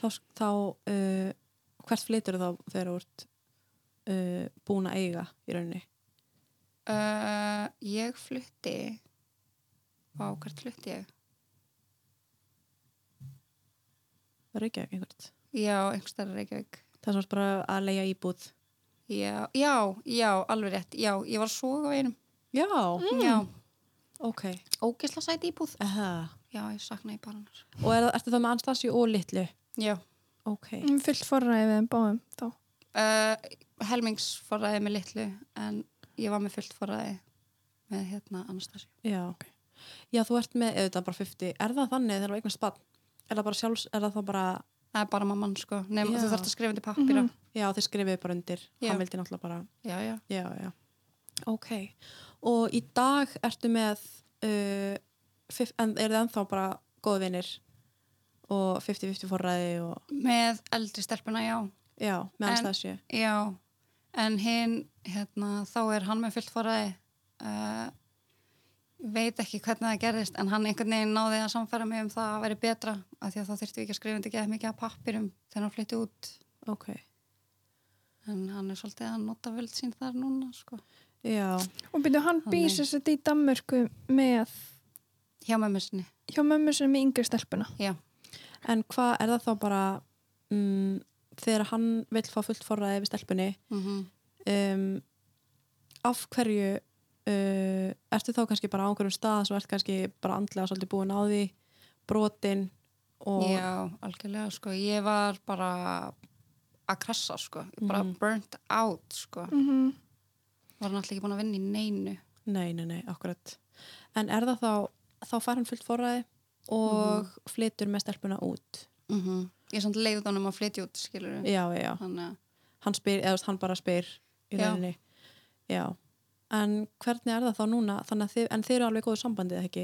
S1: þá, þá uh, hvert flytur þá þegar þú ert uh, búin að eiga í rauninni
S3: uh, ég flutti á hvert flutti ég
S1: það er ekki einhvert
S3: já, einhvers staðar í Reykjavík
S1: það sem er bara að leia íbúð
S3: Já, já, já, alveg rétt. Já, ég var svo á einum.
S1: já,
S3: Já,
S1: ok
S3: ógisla sæti Mm. íbúð.
S1: Aha.
S3: Já, ég saknaði bara hennar.
S1: og er, ertu það með Anastasi og Littlu
S3: Já.
S1: ok,
S2: Fyllt Mm, forræði við þeim báðum þá.
S3: Uh, Helmings forræði með litlu en ég var með fullt forræði með hérna Anastasi.
S1: já já, þú ert með, eða bara 50 er það þannig þegar þú eignast bann er það bara sjálfs, er það þá bara
S3: Það er bara mamman sko. Nei,
S1: Já.
S3: þú þarfst að skrifa undir pappýra.
S1: já, þið skrifið bara undir,
S3: Já.
S1: hann vildi náttúrulega bara
S3: Já, já.
S1: já, já, ok og í dag ertu með uh, fif, en er það ennþá bara góð vinnir og 50-50 forræði og
S3: Með eldri stelpuna, já.
S1: já, með
S3: En-
S1: Anastasi
S3: Já. En hinn, hérna, þá er hann með fullt forræði. Uh, veit ekki hvernig það gerðist en hann einhvern veginn náði að samfæra mig um það að veri betra af því að þá þyrftum við ekki að skrifa undir geða mikið af pappýrum þegar hann flytti út
S1: ok,
S3: en hann er svolítið að nota völd sín þar núna sko.
S1: já,
S2: Og byrju, hann
S3: Ó,
S2: býr
S3: nei.
S2: sér þetta í Danmörku með,
S3: hjá mömmu sinni
S2: hjá mömmu sem er með yngri stelpuna.
S3: já,
S1: en hvað er það þá bara mm, þegar hann vil fá fullt forræði við stelpunni
S3: mm
S1: um, af hverju uh, ertu þá kannski bara á einhverjum stað svo ert kannski bara andlega svolítið búin á því brotin og
S3: já algjörlega sko. ég var bara að krassa sko. Ég bara burnt out sko.
S2: -hmm.
S3: var hann alltaf ekki búin að vinna í neinu
S1: nei, nei, nei, akkurat en er það þá, þá fær hann fullt forræði og flytur með stelpuna út
S3: mm ég samt leiði honum að flytja út skilur
S1: já, já, já,
S3: þannig að
S1: hann spyr, eða þú veist, hann bara spyr í
S3: Já.
S1: rauninni já, en hvernig er það þá núna þannig að þið, en þið eru alveg góðu sambandið ekki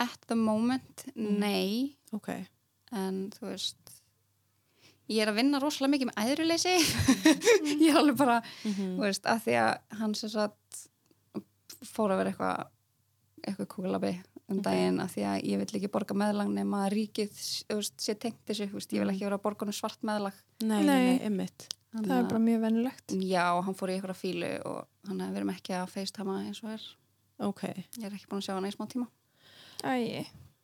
S3: at the moment,
S2: Mm.
S3: nei
S1: ok,
S3: en þú veist ég er að vinna rosalega mikið með æðruleysi
S2: Mm.
S3: ég er alveg bara þú veist, að því að hann sem sagt fór að vera eitthvað eitthvað kúlabi um daginn af því að ég vill ekki borga meðlang nema að ríkið þú veist, sé tengt þessu, þú veist, ég vil ekki vera að borga hann svart meðlag
S1: nei, nei, nei,
S2: Nei.
S1: einmitt
S2: Mm. Það er bara mjög venilegt.
S3: Já, hann fór í eitthvað fílu og hann við erum ekki að facetama eins og er
S1: ok,
S3: ég er ekki búin að sjá hann í smá tíma
S2: Æj,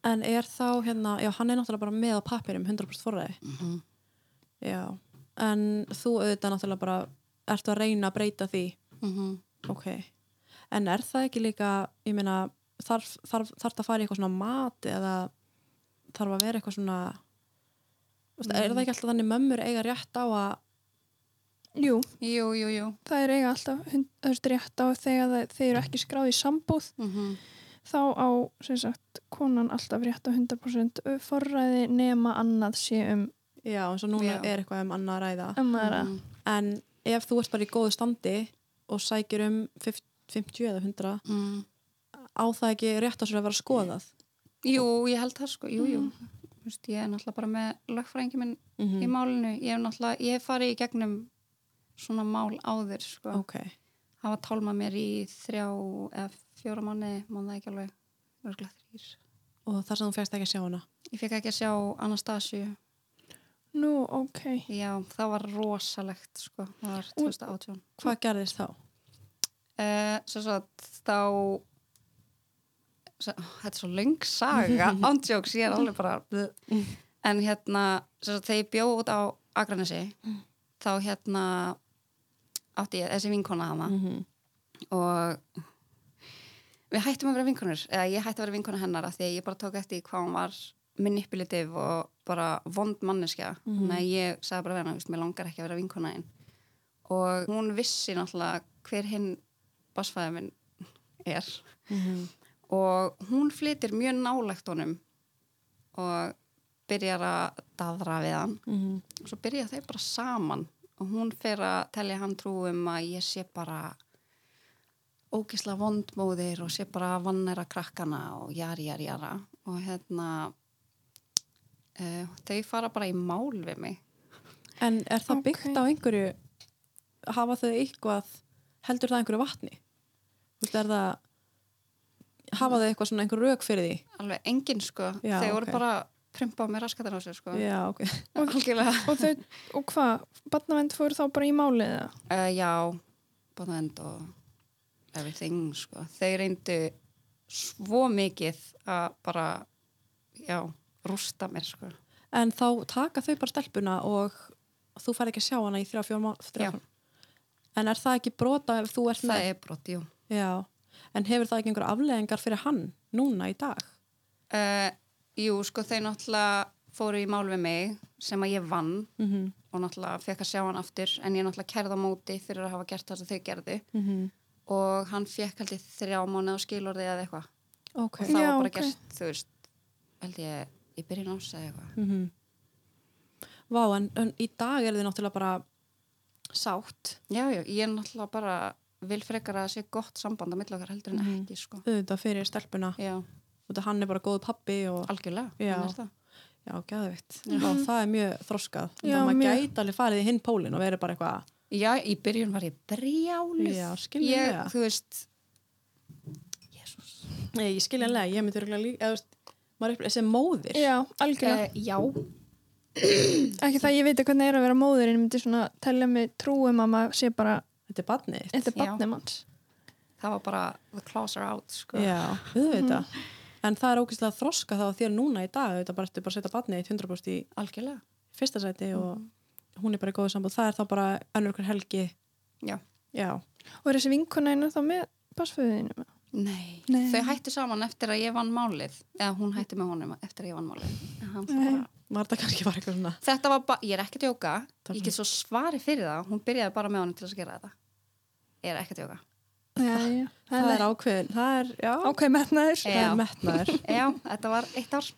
S1: en er þá hérna, já, hann er náttúrulega bara með á papirum 100% forræði
S3: Mhm.
S1: já, en þú auðvitað náttúrulega bara ertu að reyna að breyta því
S3: mm -hmm.
S1: Ok, en er það ekki líka, ég meina, þarf, þarf, þarf það að fara í eitthvað svona mat eða þarf að vera eitthvað svona, mm. er það ekki alltaf þannig mömmur eiga rétt á að,
S2: jú,
S3: Jú, jú, jú
S2: það er eiga alltaf hund- þú veist, rétt á þegar það- þeir eru ekki skráði í sambúð.
S3: mm
S2: Þá á, sem sagt, konan alltaf rétt á 100% forræði nema annað sé um
S1: já, eins og núna
S3: Já.
S1: er eitthvað um annað að ræða.
S2: ömmara.
S1: En ef þú ert bara í góðu standi og sækir um 50, 50 eða 100,
S3: Mm.
S1: á það ekki rétt á sér að vera skoðað?
S3: Jú, ég held það sko, jú, jú þú veist, ég er náttúrulega bara með lögfræðingi minn
S1: Mhm.
S3: í málinu ég hef náttúrulega, ég hef farið í gegnum svona mál áður sko.
S1: Ok,
S3: hafa tálmað mér í þrjá eða fjóra mánu, mánu ekki alveg örgulega þrýr
S1: og þar sem þú fjast ekki að sjá hana
S3: ég fekk ekki að sjá Anastasíu
S2: Nú, ok.
S3: já, það var rosalegt sko. það var 2018
S1: Hvað gerðist þá?
S3: uh, svo svo þá svo, þetta er svo löng saga ándjóks, ég er alveg bara bleh. en hérna, svo svo þegar ég bjó út á Akranesi þá hérna átti ég þessi vinkona hana
S1: -hmm.
S3: og við hættum að vera vinkonur eða ég hætti að vera vinkona hennar af því að ég bara tók eftir hvað hún var manipulativ og bara vond manneskja
S1: Mhm.
S3: þannig að ég sagði bara við hennar, mér langar ekki að vera vinkona einn og hún vissi náttúrulega hver hinn basfæði minn er
S1: Mhm.
S3: og hún flytir mjög nálægt honum og byrjar að daðra við hann
S1: Mhm.
S3: og svo byrja þeir bara saman og hún fer að telja hann trúum að ég sé bara ógisla vondmóðir og sé bara að vannera krakkana og jari, jari, jara og hérna uh, þau fara bara í mál við mig
S1: En er það
S2: Ok.
S1: byggt á einhverju hafa þau eitthvað heldur það einhverju vatni? Þú veist, er það hafa þau eitthvað svona einhverju rauk fyrir því?
S3: alveg engin sko,
S1: Já,
S3: þau voru
S1: ok.
S3: bara að prumpa á mér raskatan á sér sko
S1: Já, ok.
S3: algjörlega
S2: Og, þau, og hvað? Barnavend fóru þá bara í málið eða?
S3: uh, já, bóðend og everything sko. þau reyndu svo mikið að bara já, rústa mér sko.
S1: En þá taka þau bara stelpuna og þú fær ekki að sjá hana í þrjá, fjóra
S3: Já.
S1: mánu. En er það ekki brota ef þú ert
S3: það
S1: með?
S3: er brot, jú
S1: Já. En hefur það ekki einhverju afleðingar fyrir hann núna í dag?
S3: uh, jú, sko þau náttúrulega fóru í mál við mig sem að ég vann
S1: Mm -hmm.
S3: og náttúrulega fekk að sjá hann aftur en ég náttúrulega kærða móti fyrir að hafa gert það sem þau gerðu
S1: Mm
S3: og hann fekk haldið þrjá mánuð á skilorði eða eitthvað
S1: Ok.
S3: og það
S2: Já,
S3: var bara
S2: ok.
S3: gert, þú veist held ég, ég byrja náms eða eitthvað
S1: Mm Vá, en, en í dag er þið náttúrulega bara sátt.
S3: Já, já, ég er náttúrulega bara vil frekar að það sé gott samband á milli okkar heldur en ekki, sko.
S1: auðvitað fyrir stelpuna
S3: Já,
S1: og þetta hann er bara góð pappi og
S3: algjörlega,
S1: Já.
S3: hann er það.
S1: já, gæðvikt og það er mjög þroskað
S2: Já,
S1: þannig að maður
S2: mjög.
S1: gæti alveg farið í hinn pólinn og verið bara eitthvað
S3: Já, í byrjun var ég brjáluð.
S1: Já, skiljanlega.
S3: Ég, þú veist,
S1: nei, ég skilja lega, ég myndi örgulega líka eða, þú veist, maður er upp- þessi móðir
S2: Já, algjörlega.
S3: eh, já,
S2: Ekki það ég veit að hvernig er að vera móðir en ég myndi svona telja mig trúum að maður sé bara
S1: þetta er badnið
S2: þetta er
S3: Já.
S2: barnið manns.
S3: það var bara the claws are out, sko.
S1: já, auðvitað en það er ógeðslega þroskað þá að þér núna í dag auðvitað bara ertu bara að setja badnið eitt 100% í
S3: Algjörlega,
S1: fyrsta sæti og hún er bara í góðu sambúð það er þá bara önnur ykkur helgi
S3: já.
S1: já,
S2: Og er þessi vinkona einu þá með basföðinu?
S3: Nei.
S2: Nei.
S3: þau hættu saman eftir að ég vann málið, eða hún hætti með honum eftir að ég vann málið. En hann fór Bara...
S1: var þetta kannski bara eitthvað svona
S3: Þetta var bara, ég er ekki að djóka,
S1: Það
S3: ég get svo svari fyrir það, hún byrjaði bara með honum til að gera þetta. Ég er ekki að djóka.
S2: Já, já.
S1: það er ákveðin, það er, já,
S2: ákveð metnaður.
S1: það
S3: Já.
S1: er metnaður
S3: Já, þetta var eitt ár.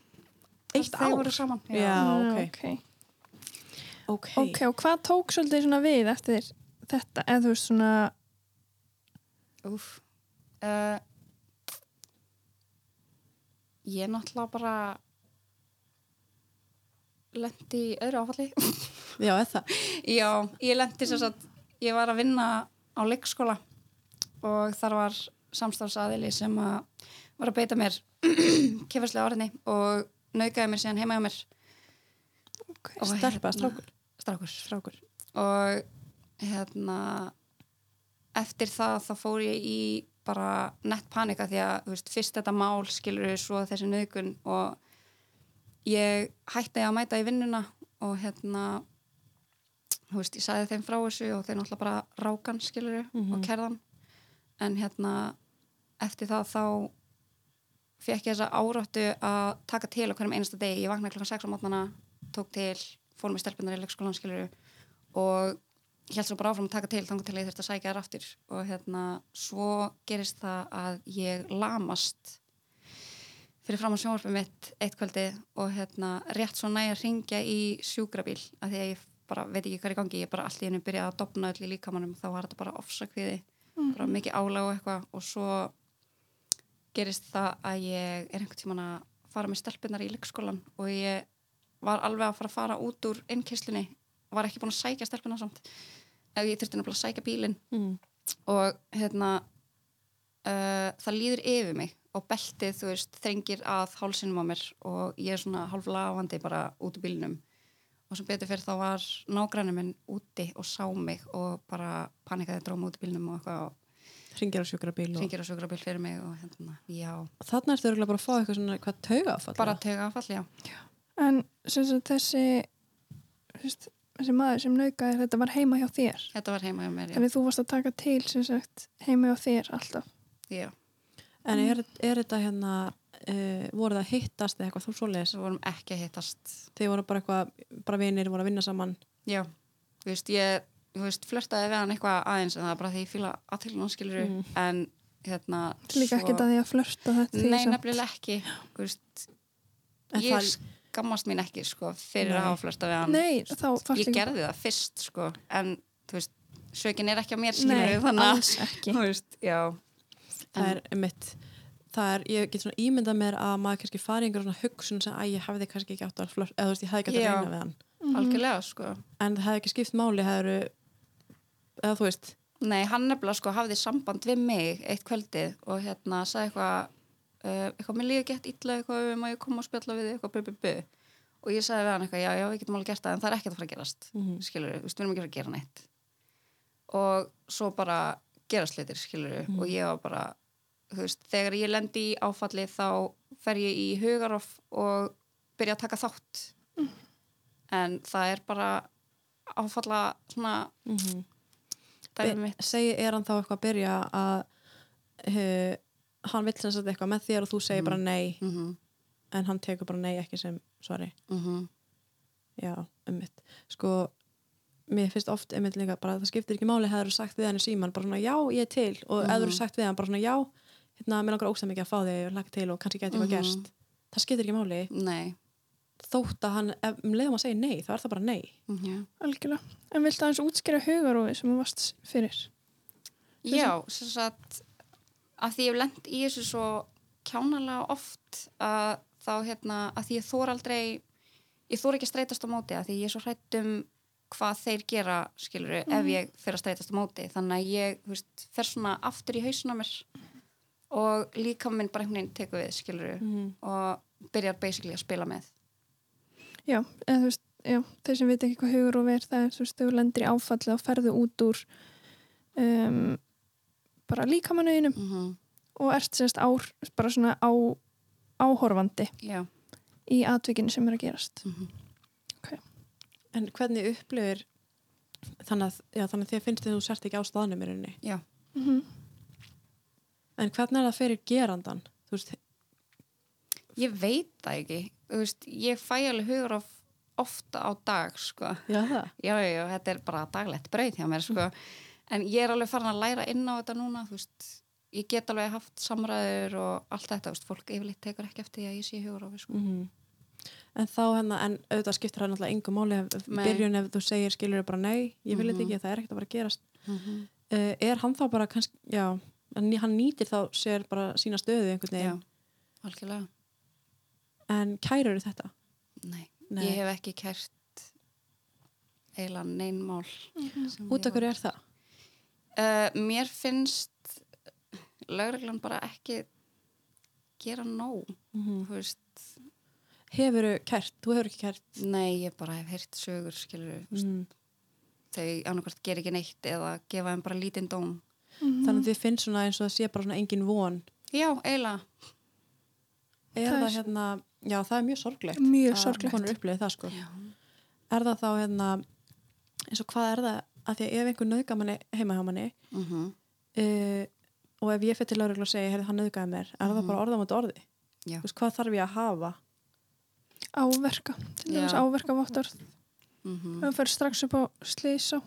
S1: Eitt
S3: Þau
S1: ár?
S3: voru saman.
S1: Já.
S2: Mm,
S1: ok.
S2: ok.
S1: ok,
S2: Ok, og hvað tók svolítið svona við eftir þetta, eða þú veist svona
S3: Úf. Uh, ég náttúrulega bara lendi í öðru áfalli.
S1: já, er það
S3: Já, ég lendi sem sagt, ég var að vinna á leikskóla og þar var samstafsaðili sem að var að beita mér kefarslega orðinni og naukaði mér síðan heima hjá mér.
S2: okay.
S3: Og
S1: stelpa,
S3: hérna-
S1: strákur,
S3: Strákur.
S1: strákur.
S3: og hérna eftir það þá fór ég í bara nett panika því að þú veist, fyrst þetta mál skilur svo þessi nöðgun og ég hætti að mæta í vinnuna og hérna þú veist, ég sagði þeim frá þessu og þeir náttúrulega bara rákan skilur og kerðan en hérna eftir það þá fekk ég þessa áráttu að taka til á hverjum einasta degi, ég vaknaði klokkan 6 á mótnana tók til, fór með stelpunar í leikskólan skilur og ég held svo bara áfram að taka til þangar til að ég þurfti að sækja þær aftur og hérna, svo gerist það að ég lamast fyrir fram á sjónvarpið mitt eitt kvöldi og hérna, rétt svo næja að ringja í sjúkrabíl af því að ég bara veit ekki hvað er í gangi ég bara allt í hennu byrjaði að dopna öll í líkamannum þá var þetta bara ofsakviði bara mikið álag og eitthvað og svo gerist það að ég er einhvern tímann að fara með stelpunar í leikskólan og ég var alveg að fara að fara út úr innkyslunni var ekki búin að sækja stelpuna samt ef ég þurfti nefnilega að sækja bílinn
S1: Mm.
S3: og hérna uh, það líður yfir mig og beltið, þú veist, þrengir að hálsinum á mér og ég er svona hálflafandi bara út úr bílnum og sem betur fyrir þá var nágræni minn úti og sá mig og bara panikaði dróma út úr bílnum og eitthvað og
S1: Ringir á sjúkra bíl og...
S3: ringir á sjúkrabíl fyrir mig og hérna, já,
S1: Þarna ertu örgulega bara að fá eitthvað svona hvað tauga áfall.
S3: bara tega affall, já
S2: En sem sagt, þessi, þessi, þessi maður sem naukaði þetta var heima hjá þér.
S3: þetta var heima hjá mér, já,
S2: Þannig þú varst að taka til sem sagt, heima hjá þér alltaf.
S3: já.
S1: En er, er þetta hérna, uh, voru það að hittast eða eitthvað þú svoleiðis?
S3: svo vorum ekki að hittast
S1: Þeir voru bara eitthvað, bara vinir, voru að vinna saman.
S3: já, þú veist, ég þú veist, flörtaði við hann eitthvað aðeins en það er bara því ég fíla aðtilin hans skilur Mm, en hérna
S2: Mm. Líka
S3: svo-
S2: ekkert að því að flörta þetta.
S3: Nei, nefnilega ekki Þú veist,
S1: En
S3: Ég
S1: það-
S3: skammast mín ekki sko, fyrir
S1: Nei.
S3: að hafa flörta við hann
S2: Nei, þá fannst
S3: Ég gerði það fyrst sko, en þú veist, sökin er ekki á mér
S2: Nei,
S3: skilur þannig að
S2: alls ekki.
S3: þú veist, já
S1: Það er mitt. Það er, ég get svona ímyndað mér að maður kannski fari einhver svona hugsun sem að ég hafði kannski ekki átt að flört, eða þú veist, ég hafði ekki átt
S3: Já.
S1: að reyna við hann.
S2: Mhm,
S3: algjörlega sko
S1: En það hefði ekki skipt máli, það eru, eða þú veist,
S3: Nei, hann nefnilega sko hafði samband við mig eitt kvöldið og hérna sagði eitthvað, uh, eitthvað, mér líður gett illa eitthvað, má ég koma og spjalla við þig, eitthvað, bu, bu, bu. Og ég sagði við hann eitthvað, já, já, við getum alveg gert það, en það er ekkert að fara að gerast, mm -hmm. skilur við, við erum ekki að fara að gera neitt. Og svo bara gerast litir, skilur við, og ég var bara, þú veist, þegar ég lendi í áfalli þá fer ég í hugarof og byrja að taka þátt. En það er bara áfalla svona,
S1: mm
S3: dæmi mitt.
S1: segi er hann þá eitthvað að byrja að uh, hann vill sem sagt eitthvað með þér og þú segir bara nei
S3: Mm
S1: en hann tekur bara nei ekki sem svari
S3: Mhm.
S1: já, ummitt sko, mér finnst oft einmitt líka bara að það skiptir ekki máli hefur sagt við hann í síman bara svona já, ég er til og mm.
S3: Mhm.
S1: hefur sagt við hann bara svona já hérna, mér langar ógstæð mikið að fá þig, lagt til og kannski gæti eitthvað
S3: Mhm.
S1: gerst það skiptir ekki máli
S3: Nei.
S1: þótt að hann, ef um leiðum að segja nei þá er það bara nei
S3: Mhm.
S2: Algjörlega. En viltu aðeins útskýra hugaróði sem þú varst fyrir?
S3: Já, sem sagt að því ég hef lent í þessu svo kjánalega oft að þá hérna, að því ég þór aldrei ég þór ekki að streytast á móti að því ég er svo hrætt um hvað þeir gera skilur ef ég fer að streytast á móti þannig að ég, þú veist, fer svona aftur í hausuna mér og líka minn bara einhvern veginn tekur við skilur
S1: Mhm.
S3: og byrjar basically að spila með
S2: Já, eða þú veist, já, þeir sem veit ekki hvað hugur og verð það er, þú veist, þau lendir í áfalli og ferðu út úr um, bara líkamanauðinum
S3: mm -hmm.
S2: og ert semst á, bara svona á, áhorfandi
S3: Já,
S2: í atvikinu sem er að gerast.
S3: Mhm.
S1: en hvernig upplifir þannig að, já, þannig að þér finnst þið að þú sért ekki á staðnum í rauninni
S3: já
S2: Mm
S1: En hvernig er það fyrir gerandan? Þú veist,
S3: Ég veit það ekki. Þú veist, ég fæ alveg hugur of ofta á dag, sko.
S1: já það.
S3: Já, já, já, þetta er bara daglegt brauð hjá mér, sko. En ég er alveg farin að læra inn á þetta núna, þú veist. Ég get alveg haft samræður og allt þetta, þú veist, fólk yfirleitt tekur ekki eftir því að ég sé hugur of, sko.
S1: En þá hérna, en auðvitað skiptir það náttúrulega engum máli ef
S3: Nei.
S1: nei. byrjun ef þú segir skilur bara nei, ég vil þetta ekki, það er ekkert að bara gerast. Uh, er hann þá bara kannski, já, en hann nýtir þá sér bara sína stöðu einhvern
S3: Já,
S1: veginn.
S3: algjörlega.
S1: En kærur þetta?
S3: Nei.
S1: Nei.
S3: Ég hef ekki kært eiginlega neinn mál. sem
S1: Út
S3: ég
S1: af hverju er það?
S3: Uh, mér finnst lögreglan bara ekki gera nóg,
S1: Mm
S3: þú veist.
S1: Hefuru kært, þú hefur ekki kært.
S3: Nei, ég bara hef heyrt sögur, skilur, mm.
S1: Mm.
S3: þau annarkvært ger ekki neitt eða gefa þeim bara lítinn dóm.
S2: mhm.
S1: Þannig að þið finnst svona eins og það sé bara svona engin von.
S3: Já, eiginlega.
S1: Er
S2: Það
S1: það,
S2: er-
S1: hérna, já það er mjög sorglegt.
S2: Mjög
S1: að
S2: sorglegt.
S1: Konur upplifið það sko. Er það þá hérna, eins og hvað er það að því að ef einhver nöðgar manni heima hjá manni
S3: Mm
S1: uh, og ef ég fyrir til lauruglu og segi, heyrðu hann nöðgaði mér, er það bara orða mot orði?
S3: Já.
S1: Þú veist, hvað þarf ég að hafa?
S2: Áverka, til dæmis
S3: Já.
S2: áverka vottorð.
S1: Mhm.
S2: Ef
S3: mhm,
S2: þú fer strax upp á slýsa,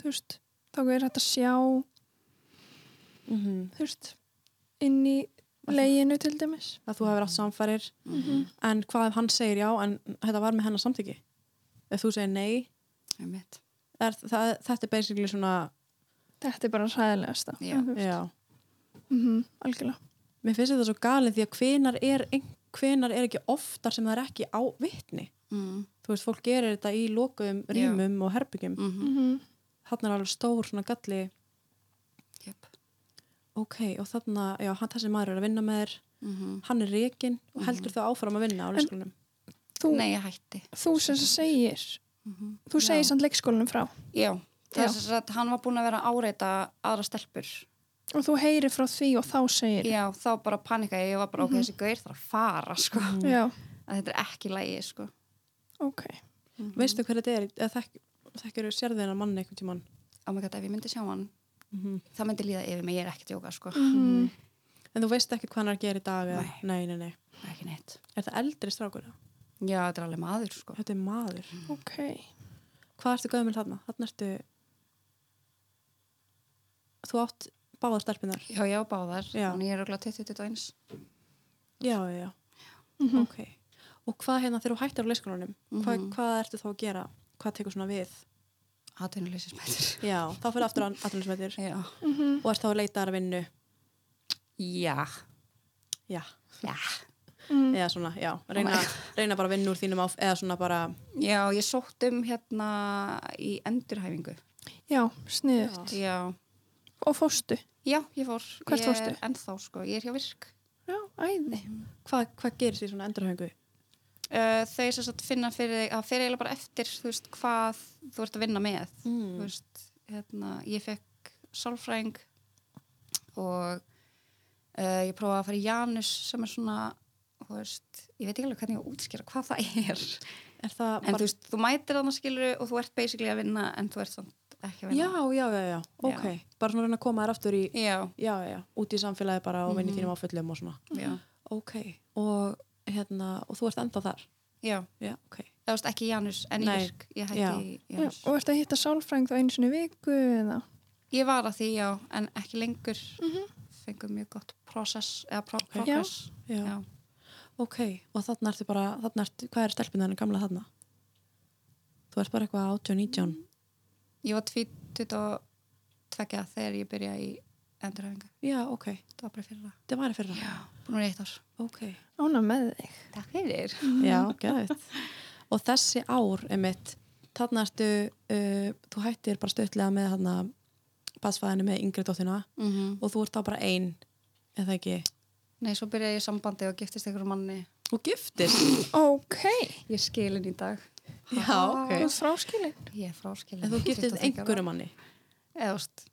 S2: þú veist, þá er þetta sjá,
S1: Mm
S2: þú veist, inn í leginu til dæmis.
S1: Að þú hefur átt samfærir,
S3: mhm,
S2: Mhm.
S1: en hvað ef hann segir já, en þetta var með hennar samþyggi? Ef þú segir nei, er, það, þetta er basically svona,
S2: Þetta er bara ræðilegasta.
S3: Já.
S1: já.
S2: Mm -hmm, algjörlega.
S1: Mér finnst þetta svo galið því að hvenar er, ein- hvenær er ekki oftar sem það er ekki á vitni?
S3: Mm.
S1: Þú þú veist, fólk gerir þetta í lokuðum rýmum og herbyggjum
S3: mm -hmm.
S2: Mhm.
S1: þarna er alveg stór svona galli
S3: Jöp.
S1: ok, og þarna, já, hann þessi maður er að vinna með þér
S3: mhm.
S1: hann er rekin og heldur þú áfram að vinna á leikskólanum
S2: Þú,
S3: Nei, ég hætti. Mhm.
S2: þú sem segir, þú segir samt leikskólanum frá
S3: Já,
S2: Já.
S3: þess að hann var búin að vera að áreita aðra stelpur.
S2: og þú heyrir frá því og þá segir.
S3: Já, þá bara panikaði, ég, ég var bara
S2: Mhm.
S3: ok, þessi gaur þarf að fara, sko.
S2: Já,
S3: Að þetta er ekki lægi, sko. Mhm.
S2: ok.
S1: veistu hver þetta er, eða þekk, þekkir sérðu hennar mann einhvern tímann
S3: Oh my god, ef ég myndi sjá hann,
S1: Mhm.
S3: það myndi líða yfir mig, ég er ekki að djóka, sko.
S2: Mm.
S1: en þú veist ekki hvað hann er að gera í dag eða, nei, nei, nei,
S3: Ekki neitt.
S1: er það eldri strákur eða?
S3: Já, þetta er alveg maður, sko.
S1: þetta er maður
S2: Ok.
S1: hvað ertu gömul þarna? þarna ertu þú átt báðar stelpunar
S3: Já, já, báðar.
S1: Já.
S3: Þannig ég er okkur 20-21.
S1: já, já, já, ok og hvað hérna þegar þú hættir á leikskólanum hvað,
S3: Mhm.
S1: hvað ertu þá að gera? hvað tekur svona við?
S3: Atvinnuleysismættur.
S1: já, þá fyrir aftur aðlunismættir
S3: Já.
S2: Mm
S1: og ert þá að leita að vinnu
S3: Já.
S1: já,
S3: Já.
S2: mm.
S1: eða svona, já, reyna, reyna bara að vinna úr þínum áf, eða svona bara
S3: Já, ég sótt um hérna í endurhæfingu.
S2: Já, sniðut.
S1: já,
S3: Já.
S2: Og fóstu.
S3: Já, ég fór.
S2: Hvert
S3: Ég er
S2: fórstu?
S3: Ennþá, sko. Ég er hjá virk.
S2: Já, æði.
S1: hvað, hvað gerist í svona endurhöngu?
S3: Uh, þau sem sagt finna fyrir þig, það fyrir eiginlega bara eftir þú veist, hvað þú ert að vinna með
S1: Mm.
S3: þú veist, hérna, ég fekk sálfræðing og uh, ég prófaði að fara í Janus sem er svona þú veist, ég veit ekki alveg hvernig ég á að útskýra hvað það er
S1: er það
S3: en þú veist, þú mætir þannig skilur og þú ert basically að vinna en þú ert samt ekki að
S1: já,
S3: vinna
S1: já, já, já, ok bara svona reyna að koma þér aftur í
S3: já,
S1: já, já, já, út í samfélagi bara og vinna í þínum áföllum og svona
S3: já,
S1: Mhm. ok, og hérna og þú ert enda þar
S3: já.
S1: já, ok,
S3: Það veist ekki í Janus en
S1: Nei.
S3: ég virk, ég hætti
S1: Já.
S3: í
S2: Já,
S3: Janus
S2: og ertu að hitta sálfræng þá einu sinni í viku eða?
S3: Ég var að því, já, en ekki lengur
S1: Mhm.
S3: fengum mjög gott process eða pro progress
S1: já,
S3: Já.
S1: ok og þarna ertu bara, þarna ertu, hvað er stelpunan gamla þarna? þú ert bara eitthvað 18-19
S3: Ég var 22 þegar ég byrjaði í endurhæfingu.
S1: já, ok,
S3: Það var bara fyrir það.
S1: það var í fyrra
S3: Já. Búin að vera í eitt ár.
S1: ok,
S2: Ána með þig.
S3: Takk fyrir.
S1: já, gæðið og þessi ár, emitt þarna ertu, uh, þú hættir bara stöðlega með þarna basfæðinu með yngri dóttina
S3: Mhm.
S1: og þú ert þá bara ein, eða ekki
S3: Nei, svo byrjaði ég í sambandi og giftist einhverjum manni.
S1: og giftir
S2: Ok.
S3: Ég er skilin í dag.
S1: já, ok
S2: Þú ert fráskilin.
S3: Ég er fráskilin.
S1: en þú giftið
S3: 25 ára.
S1: einhverjum manni
S3: Eða, þú veist,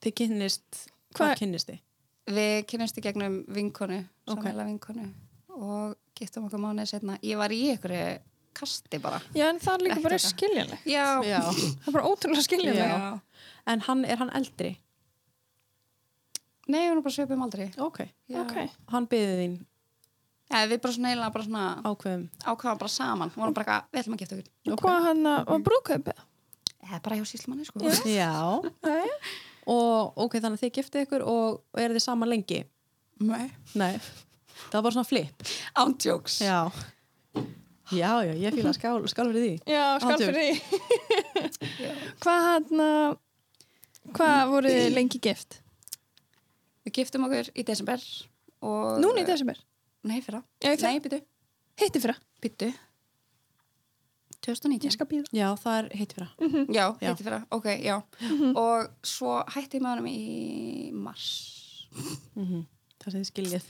S1: þið kynnist,
S2: Hvað-
S1: hvað kynnist þið?
S3: við kynnumst í gegnum vinkonu,
S1: Ok.
S3: samhæla vinkonu og giftum okkur mánuðið setna. Ég var í einhverju kasti bara.
S2: Já, en það er líka
S3: Ekki
S2: bara
S3: þetta.
S2: skiljanleg.
S3: Já.
S1: Já.
S2: Það er bara ótrúlega skiljanleg.
S1: Já. en hann, er hann eldri?
S3: Nei, hún er bara söpum aldrei.
S1: ok,
S3: Já.
S2: Ok.
S1: hann byðið þín
S3: Ja, við bara svona eiginlega bara svona
S1: ákveðum
S3: ákvaðum bara saman. Við vorum bara eitthvað, við ætlum að gifta okkur.
S2: Og hvað hann að, var brúðkaupið?
S3: Eða bara hjá síslumanni, sko.
S1: já, og ok, þannig að þið giftið ykkur og, og eru þið saman lengi
S3: Nei.
S1: nei, það var bara svona flip
S3: Ándjóks.
S1: já, já, já, ég fíla skál, skál fyrir því
S2: Já, skal
S1: Átján.
S2: fyrir því. hvað hann að, hvað voruð þið lengi gift?
S3: Við giftum okkur í desember og...
S2: Núna í desember.
S3: Nei, fyrra.
S2: Já, í fyrra.
S3: Nei, byttu.
S2: Hitti fyrra.
S3: Byttu. 2019.
S2: Ég skal býða.
S1: já, það er heitt fyrir það
S3: Mm, Já,
S1: Já.
S3: heiti fyrra. Ok, já. Og svo hætti ég með honum í mars.
S1: það sem þið skiljið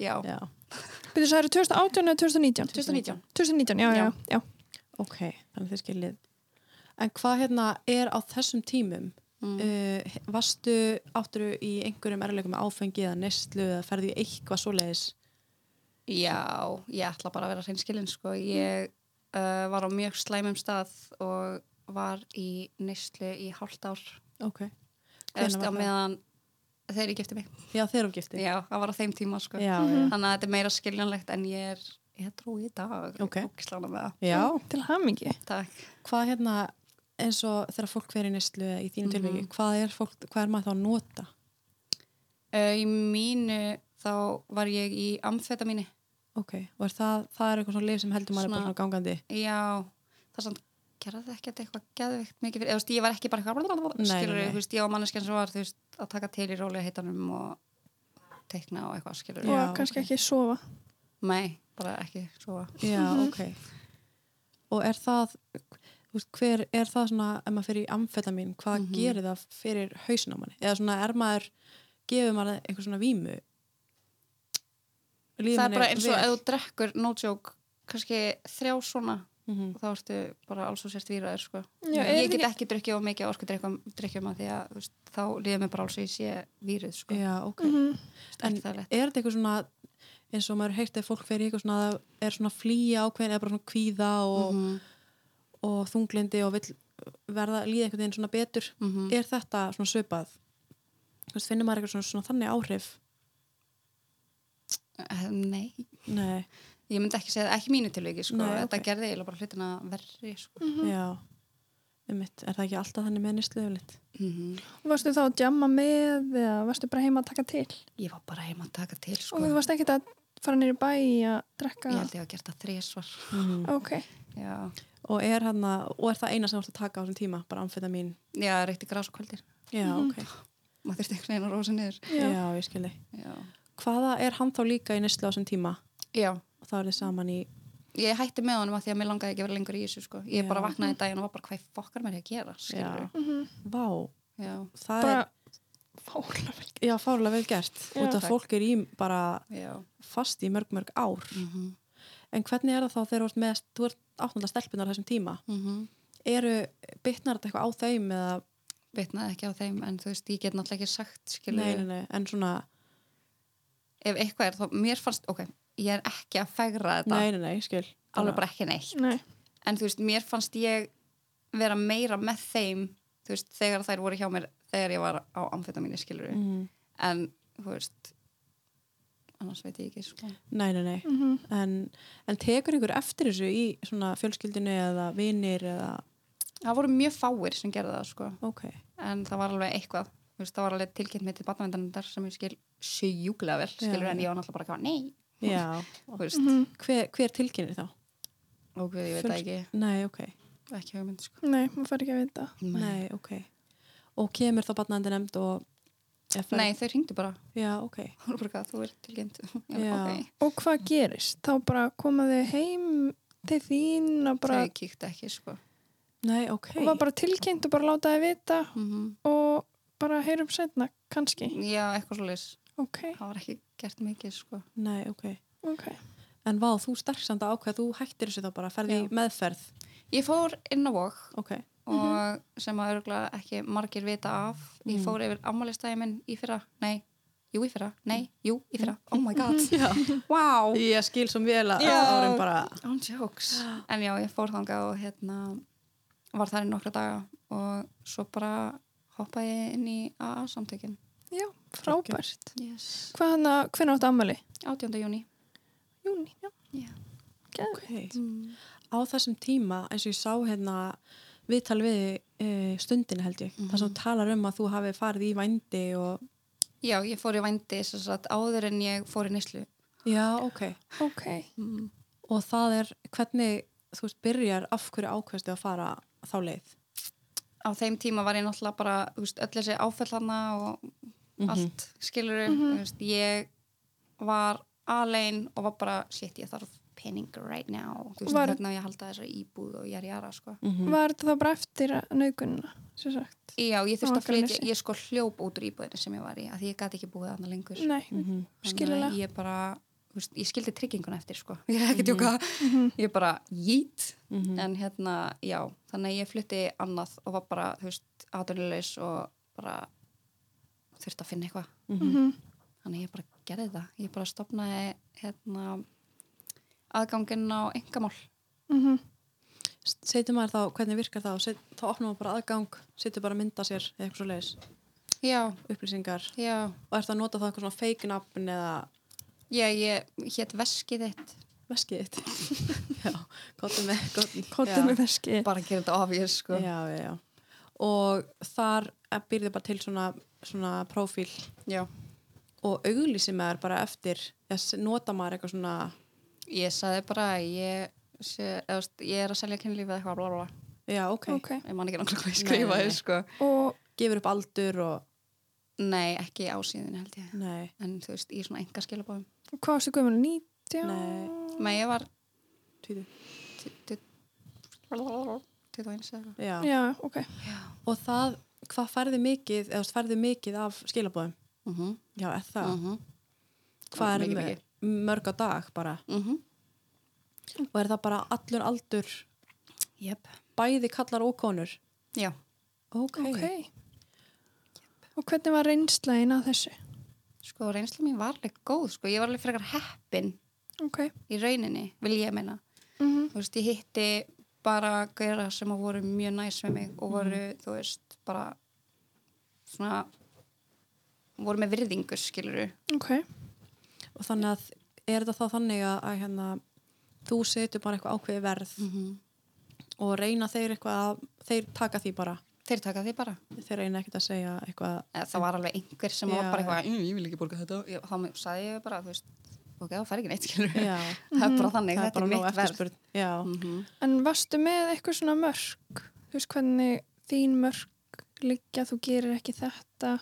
S3: Já.
S1: Mhm. já.
S2: Býðu það eru 2018 eða 2019?
S3: 2019.
S2: 2019, já, já,
S3: Já.
S2: já.
S1: ok, þannig að þið skiljið en hvað hérna er á þessum tímum
S3: Mm.
S1: Uh, varstu átturu í einhverjum erleikum með áfengi eða nestlu eða ferðu í eitthvað svoleiðis
S3: Já, ég ætla bara að vera hreinskilin sko. Ég uh, var á mjög slæmum stað og var í neyslu í hálft ár
S1: ok, Hvenær
S3: eftir á
S1: var það?
S3: meðan þeir ég gifti mig.
S1: já Mhm. þeir eru gifti
S3: Já, það var á þeim tíma sko.
S1: já,
S3: Þannig að þetta er meira skiljanlegt en ég er ég trú í dag.
S1: Ok.
S3: Ógislega með það.
S1: já. já,
S2: Til hamingi.
S3: Takk.
S1: hvað hérna eins og þegar fólk verið í nýstlu í þínu tilviki, hvað er, fólk, hvað er maður þá að nota?
S3: Uh, í mínu þá var ég í amfeta mínu.
S1: Ok, og er það, það er eitthvað svona lif sem heldur maður er bara
S3: Svona-
S1: svona gangandi
S3: Já, það er samt gerði það ekkert eitthvað geðvikt mikið fyrir, eða þú veist, ég var ekki bara eitthvað
S1: Nei, nei,
S3: skilur,
S1: nei.
S3: þú veist, ég og manneskjan sem var þú veist, að taka til í rólega heitanum og teikna og eitthvað skilur
S1: Já.
S2: og kannski ekki sofa.
S3: Mhm. Nei, bara ekki svo
S1: Já, ok og er það þú veist, hver er það svona ef maður fyrir í amfetamin, hvað
S3: Mhm.
S1: gerir það fyrir hausin á manni, eða svona er maður gefur maður einhver svona vímu Líður
S3: það er
S1: manni
S3: bara eins og
S1: vel?
S3: ef þú drekkur no joke, kannski þrjá svona
S1: Mhm.
S3: þá ertu bara alls og sért výraður sko.
S2: Já, er
S3: ég
S2: þetta
S3: get ekki drukkið og mikið orku drukkjum að því að þú veist, þá líður mér bara alls og ég sé výruð sko.
S1: Já, ok.
S2: Mhm.
S3: Ekki
S1: En
S3: það er lett.
S1: er þetta eitthvað svona eins og maður heilt að fólk fer í eitthvað svona að það er svona að flýja ákveðin eða bara svona kvíða og,
S3: Mhm,
S1: og þunglindi og vill verða líða einhvern veginn svona betur
S3: mhm.
S1: er þetta svona svipað Þú veist, finnir maður eitthvað svona, svona þannig áhrif
S3: Eh, Nei,
S1: nei,
S3: ég myndi ekki segja það, ekki í mínu tilviki sko.
S1: Nei,
S3: þetta
S1: ok. Mm.
S3: gerði eiginlega bara hlutina verri sko.
S1: já Einmitt, er það ekki alltaf þannig með nýstlu yfirleitt
S3: Mhm.
S2: Varstu þá að jamma með eða varstu bara heima að taka til?
S3: ég var bara heima að taka til sko.
S2: Og þú varst ekkert að fara nýri bæ í að drekka? Ah,
S3: ég held ég að gert það þrísvar
S2: Ok.
S3: já,
S1: og, er hana, og er það eina sem þú ert að taka á þessum tíma bara amfetamin
S3: já reykti grás og kvöldir
S1: já,
S2: Mhm.
S1: ok,
S3: maður þurfti einhvern veginn að rósa niður
S1: já.
S2: Já.
S1: ég skilji
S3: já.
S1: hvaða er hann þá líka í nýstlu á þessum tíma
S3: já,
S1: og þá er þið saman í
S3: ég hætti með honum að því að mér langaði ekki að vera lengur í þessu sko. ég
S1: Já.
S3: bara vaknaði í daginn og var bara hvað í fokk er mér að gera skilurðu?
S2: Mhm.
S1: vá,
S3: já.
S1: það er
S2: Bara fála vel.
S1: Já, fárlega vel gert.
S2: Já.
S1: Út af
S3: Takk.
S1: fólk er í bara
S3: Já.
S1: fast í mörg, mörg ár.
S3: Mhm.
S1: En hvernig er það þá þegar þú ert með, þú ert áttunda stelpunar á þessum tíma?
S3: Mhm.
S1: Eru, bitnar þetta eitthvað á þeim eða,
S3: bitnaði ekki á þeim en þú veist, ég get náttúrulega ekki sagt skilur,
S1: nei, nei, nei, en svona,
S3: ef eitthvað er þá, mér fannst, ok ég er ekki að fegra þetta
S1: nei, nei, nei, skil.
S3: alveg bara ekki neitt
S2: Nei.
S3: en þú veist, mér fannst ég vera meira með þeim þú veist, þegar þær voru hjá mér þegar ég var á amfetamíni skilur
S1: Mhm.
S3: en þú veist annars veit ég ekki sko.
S1: Nei, nei, nei.
S2: Mm -hmm.
S1: En, en tekur einhver eftir þessu í svona fjölskyldinu eða vinir eða,
S3: það voru mjög fáir sem gerði það sko.
S1: ok.
S3: en það var alveg eitthvað þú veist, það var alveg tilkynnt mér til batnavendarindar sem ég skil sjúklega vel skilur
S1: Já,
S3: en
S1: já.
S3: ég var náttúrulega bara ekki að nei
S1: Já.
S3: þú veist,
S2: mhm.
S1: Hver, hver tilkynir þá?
S3: ok, ég veit það ekki,
S1: Nei, ok.
S3: ekki hugmynd sko.
S2: Nei, maður fær ekki að vita.
S3: nei.
S1: Nei, ok. Og kemur þá batnandi nefnd og...
S3: nei, þau ringdu bara,
S1: Já, ok.
S3: Þau voru bara eitthvað, þú ert tilkynnt já,
S1: Já.
S3: ok,
S2: Og hvað gerist? Þá bara komaðu heim til þín og bara...
S3: þau kíktu ekki sko.
S1: Nei, ok.
S2: Og var bara tilkynnt og bara látaði vita
S3: mm
S2: og bara heyrum setna, kannski.
S3: já, eitthvað svolítið
S2: Ok,
S3: það var ekki gert mikið sko.
S1: Nei, ok.
S2: ok.
S1: En vá, þú sterksand að ákveða, þú hættir þessu þá bara, ferði
S3: Já.
S1: í meðferð.
S3: ég fór inn á vok
S1: Ok.
S3: og sem að örgulega ekki margir vita af ég
S1: Mm.
S3: fór yfir ammálistæði minn í fyrra nei, jú í fyrra, nei, jú í fyrra oh my god,
S1: Já.
S3: wow
S1: Ég skil sem vel að
S3: Já.
S1: árum bara.
S3: on jokes en já, ég fór þangað og hérna var þar í nokkra daga og svo bara hoppaði ég inn í AA samtökin
S2: Já, frábært.
S3: yes.
S2: Hvað hann að, hvernig áttu ammali?
S3: 18. júni
S2: Júni, já.
S3: yeah.
S1: Ok.
S3: mm.
S1: Á þessum tíma, eins og ég sá hérna viðtal við e, stundin held ég,
S3: Mhm.
S1: þar sem þú talar um að þú hafi farið í vændi og...
S3: já, ég fór í vændi sem sagt, áður en ég fór í nýslu
S1: Já, ok.
S2: Ok.
S3: mm.
S1: Og það er hvernig, þú veist, byrjar af hverju ákveðstu að fara þá leið.
S3: á þeim tíma var ég náttúrulega bara þú veist, öll þessi áfellana og allt skilur veist, ég var alein og var bara, shit, ég þarf pening right now, þú veist,
S2: Var-
S3: hvernig á ég að halda þessa íbúð og jari jara, sko
S1: Mhm.
S2: Var þetta þá bara eftir naukununa, sem sagt?
S3: já, ég
S2: Á
S3: þurfti að flytja,
S2: Akranesi.
S3: ég sko hljóp út úr íbúðinu sem ég var í, að því ég gæti ekki búið annað lengur
S2: Nei,
S1: Mhm.
S2: skiljulega.
S3: ég bara, þú veist, ég skildi trygginguna eftir, sko, ég er ekki að tjóka ég bara, jít
S1: Mhm.
S3: en hérna, já, þannig að ég flytti annað og var bara, þú veist, aðunilegs og bara þurfti að finna eitthvað
S2: Mm -hmm.
S3: þannig að ég bara gerði það, ég bara stopnaði hérna aðganginn á engamál
S2: Mhm.
S1: Setur maður þá, hvernig virkar það? Set, þá opnum maður bara aðgang, setur bara að mynda sér eða eitthvað svo leiðis,
S3: já,
S1: upplýsingar
S3: já,
S1: og ert að nota það eitthvað svona fake nafn eða
S3: ég, ég hétt veskið þitt
S1: veskið þitt já, kottum með
S2: Kottu með veski.
S3: bara að gera þetta obvious sko
S1: já, já, já. og þar byrði bara til svona, svona prófíl
S3: já.
S1: og auglýsi maður bara eftir eða s- nota maður eitthvað svona
S3: ég sagði bara að ég, sé, eða, þú veist, ég er að selja kynlífið eitthvað bla, bla, bla.
S1: já, ok,
S2: Ok.
S3: ég man ekki náttúrulega hvað ég
S1: Nei, nei,
S3: skrifaði
S1: nei.
S3: sko
S2: Og,
S1: gefur upp aldur og
S3: nei, ekki á síðinu held ég
S1: nei,
S3: en þú veist, í svona enga skilabóðum
S2: hvað ástu gömul? 19?
S1: Nei.
S3: menn ég var
S1: tvítu
S3: t- t- til þú eins eða
S1: Já.
S2: já, ok
S3: já,
S1: Og það, hvað færði mikið, eða þú veist, færði mikið af skilabóðum?
S3: mm -hmm.
S1: Já, eða það. Mhm, Hvað er
S3: Mikið,
S1: mikið, mörg á dag bara?
S3: mm -hmm.
S1: Og er það bara allur aldur,
S3: yep.
S1: bæði kallar og konur?
S3: já,
S1: Ok.
S2: Ok. Og hvernig var reynslaðin að þessu?
S3: sko reynsla mín var alveg góð sko, ég var alveg frekar heppin
S2: Ok.
S3: í rauninni, vil ég meina
S2: Mm
S3: þú veist, ég hitti bara gæra sem að voru mjög næs með mig og voru,
S1: Mhm.
S3: þú veist, bara svona voru með virðingu, skiluru
S2: Ok.
S1: Og þannig að, er þetta þá þannig að, að hérna, þú setur bara eitthvað ákveði verð
S3: -hmm.
S1: og reyna þeir eitthvað að, þeir taka því bara.
S3: þeir taka því bara
S1: Þeir reyna ekkert að segja eitthvað,
S3: Eða, það var alveg einhver sem var
S1: Já,
S3: bara
S1: já.
S3: eitthvað "Mm, ég vil ekki borga þetta, ég, þá sagði ég bara þú veist, ok, þá fær ekki neitt, skiluru
S1: já, Mhm.
S3: það er bara þannig,
S1: það er
S3: þetta
S1: bara
S3: er
S1: nóg
S3: mitt verð
S1: eftirspurn. Já,
S3: mm -hmm.
S2: En varstu með eitthvað svona mörk? Þú veist hvernig þín mörk liggja, þú gerir ekki þetta.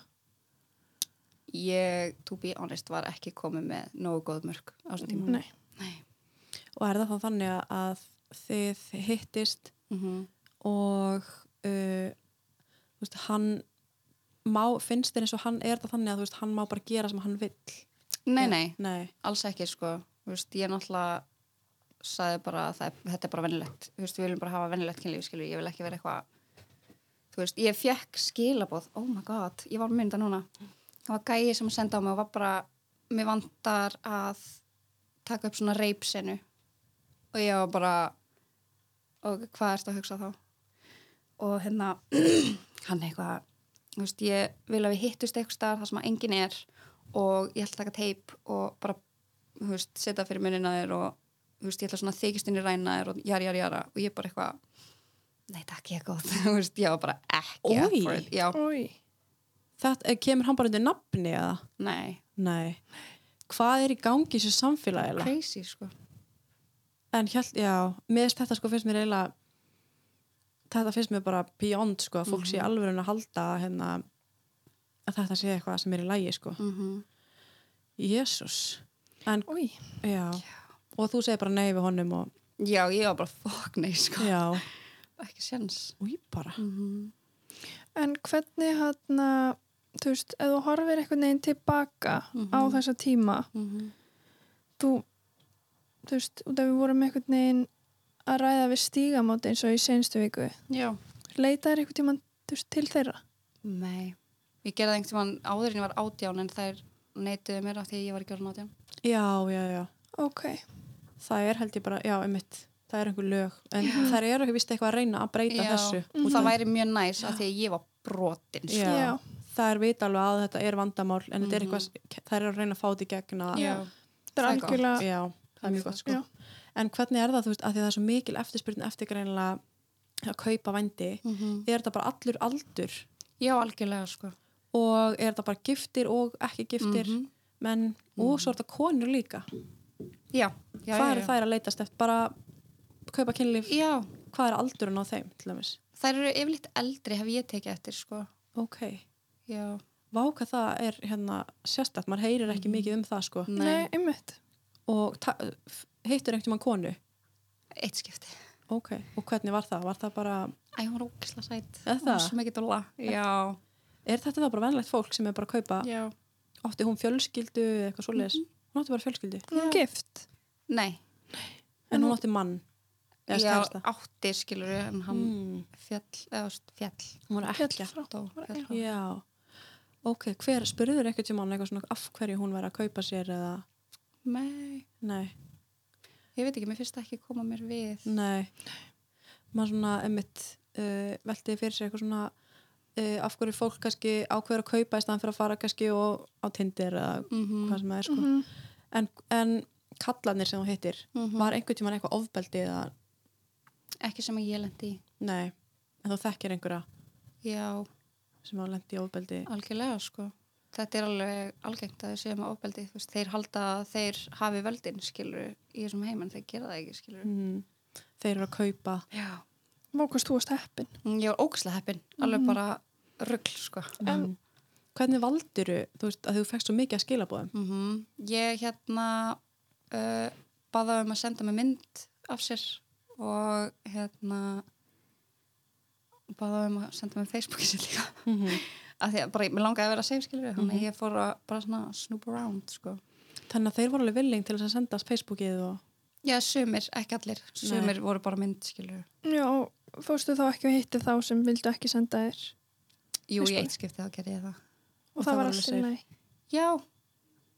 S3: ég, to be honest, var ekki komið með nógu góð mörg á þessum tíma
S2: Nei.
S3: Nei.
S1: og er það þá þannig að- að þið hittist
S3: Mm
S1: og uh, þú veist, hann má, finnst þér eins og hann er það þannig að þú veist, hann má bara gera sem hann vill
S3: nei, nei,
S1: nei,
S3: alls ekki sko Þú veist, ég náttúrulega sagði bara að það, er- þetta er bara venilegt Þú veist, við viljum bara hafa venilegt kynlíf skilur ég vil ekki vera eitthvað þú veist, ég fekk skilaboð, oh my god ég var að mynda núna það var gæi sem senda á mig og var bara mér vantar að taka upp svona reypsenu og ég var bara og hvað ertu að hugsa þá og hérna hann eitthvað, þú veist, ég vil að við hittust eitthvað staðar þar sem að enginn er og ég ætla að taka teip og bara, þú veist, setja fyrir munina þér og, þú veist, ég ætla svona að þykist inn í ræna þér og jari, jari, jara og ég bara eitthvað nei, takk, ég er góð, þú veist, ég var bara ekki up
S1: Oj.
S3: for it, já,
S2: Úi.
S1: þetta eh, kemur hann bara undir nafni eða,
S3: nei
S1: nei hvað er í gangi í þessu samfélagi
S3: crazy, sko
S1: en hjælt, já, mér finnst þetta sko finnst mér eiginlega þetta finnst mér bara beyond sko að fólk sé alveg að halda hérna að þetta sé eitthvað sem er í lægi sko
S3: mm
S1: Jésús, en
S2: Úi.
S1: já og þú segir bara nei við honum og
S3: já, ég var bara, fuck, nei, sko
S1: já,
S3: ekki sens
S1: új bara
S3: mm -hmm.
S2: En hvernig hann að, þú veist, ef þú horfir einhvern veginn tilbaka á þessa tíma, þú, þú veist, út af við vorum einhvern veginn að ræða við stígamóti eins og í senstu viku,
S3: já,
S2: leitaðir einhvern tíman, þú veist, til þeirra?
S3: nei ég gerði það einhvern tímann áður en ég var átján en þær neituðu mér af því að ég var ekki orðin átján
S1: já, já, já,
S2: Ok.
S1: það er held ég bara já, einmitt, það er einhver lög en það eru vist eitthvað að reyna að breyta
S3: Já, Mm.
S1: þessu
S3: og það væri mjög næs af því að ég var brotin sko.
S1: já.
S2: Já.
S1: það er vita alveg að þetta er vandamál en
S3: Mhm.
S1: þetta er eitthvað, það eru að reyna að fá þetta í gegna
S2: Já. Það er
S3: Það er gott.
S2: algjörlega,
S1: já, það er mjög gott sko
S2: Já.
S1: en hvernig er það, þú veist, að því það er svo mikil eftirspyrin eftir greinilega að kaupa vændi
S3: Mhm.
S1: er þetta bara allur aldur
S3: já, algjörlega sko.
S1: og er þetta bara giftir og ekki giftir
S3: Mhm.
S1: menn, og svo er þetta konur líka
S3: já, já,
S1: hvað
S3: já,
S1: eru
S3: já.
S1: þær að leitast eftir, bara kaupa kynlíf,
S3: já,
S1: hvað er aldurinn á þeim til dæmis,
S3: þær eru yfirleitt eldri hef ég tekið eftir sko.
S1: ok
S3: já,
S1: Vá hvað það er hérna sérstætt, maður heyrir ekki mikið um það sko
S3: nei,
S2: nei, einmitt.
S1: og ta- f- hittir einhvern mann konu
S3: eitt skipti
S1: ok, og hvernig var það? Var það bara
S3: Æ, hún var ógisla sætt
S1: Er
S3: Hún var
S1: það?
S3: svo mikið dóla já,
S1: er þetta þá bara venlegt fólk sem er bara að kaupa
S3: já.
S1: átti hún fjölskyldu eða eitthvað svoleiðis hún átti bara fjölskyldu,
S2: Hún er gift.
S3: nei,
S1: en hún átti mann eða
S3: já,
S1: skærasta
S3: átti skilur en hann
S1: mm,
S3: fjall, eða þú veist, fjall
S1: hún var ekki
S2: Fjall frá.
S3: dó, fjall frá.
S1: já, ok, hver spurður eitthvað tíma eitthvað svona af hverju hún væri að kaupa sér eða,
S3: nei,
S1: nei,
S3: ég veit ekki, mér finnst það ekki koma mér við
S1: nei maður svona emitt uh, veltið fyrir sér eitthvað svona uh, af hverju fólk kannski ákveður að kaupa í staðan fyrir að fara kannski og á tindir eða
S3: Mhm.
S1: hvað sem það er sko.
S2: Mhm.
S1: en, en kallarnir sem þú hittir
S3: Mhm.
S1: var einhvern tímann eitthvað ofbeldi eða
S3: ekki sem að ég lendi í
S1: nei, en þú þekkir einhverja
S3: já,
S1: sem hafa lendi í ofbeldi
S3: algjörlega sko þetta er alveg algengt að þau séu með ofbeldi þú veist, þeir halda að þeir hafi völdin skilur í þessum heim en þeir gera það ekki skilur
S1: mm. þeir eru að kaupa
S3: já,
S2: Vókast þú að steppin.
S3: Mm, ég var ógæslega heppin alveg bara ruggl sko
S1: mm. hvernig valduru, þú veist að þú fekst svo mikið að skila bóðum
S3: mm eh, ég hérna uh, baðaði um að senda mig mynd af sér og hérna báða um að senda mér Facebooki sér líka
S1: Mm -hmm.
S3: að því að bara, mér langaði að vera safe skilur þannig að ég fór að bara svona snoop around sko.
S1: Þannig að þeir voru alveg villing til þess að senda Facebookið og...
S3: já, sumir, ekki allir sumir voru bara mynd skilur
S2: Já, og fórstu þá ekki að hitti þá sem vildu ekki senda þér og,
S3: jú,
S2: Veist
S3: ég
S2: bara.
S3: eitt skipti þá gerði ég það
S2: það var allir
S1: safe.
S2: nei
S3: já, það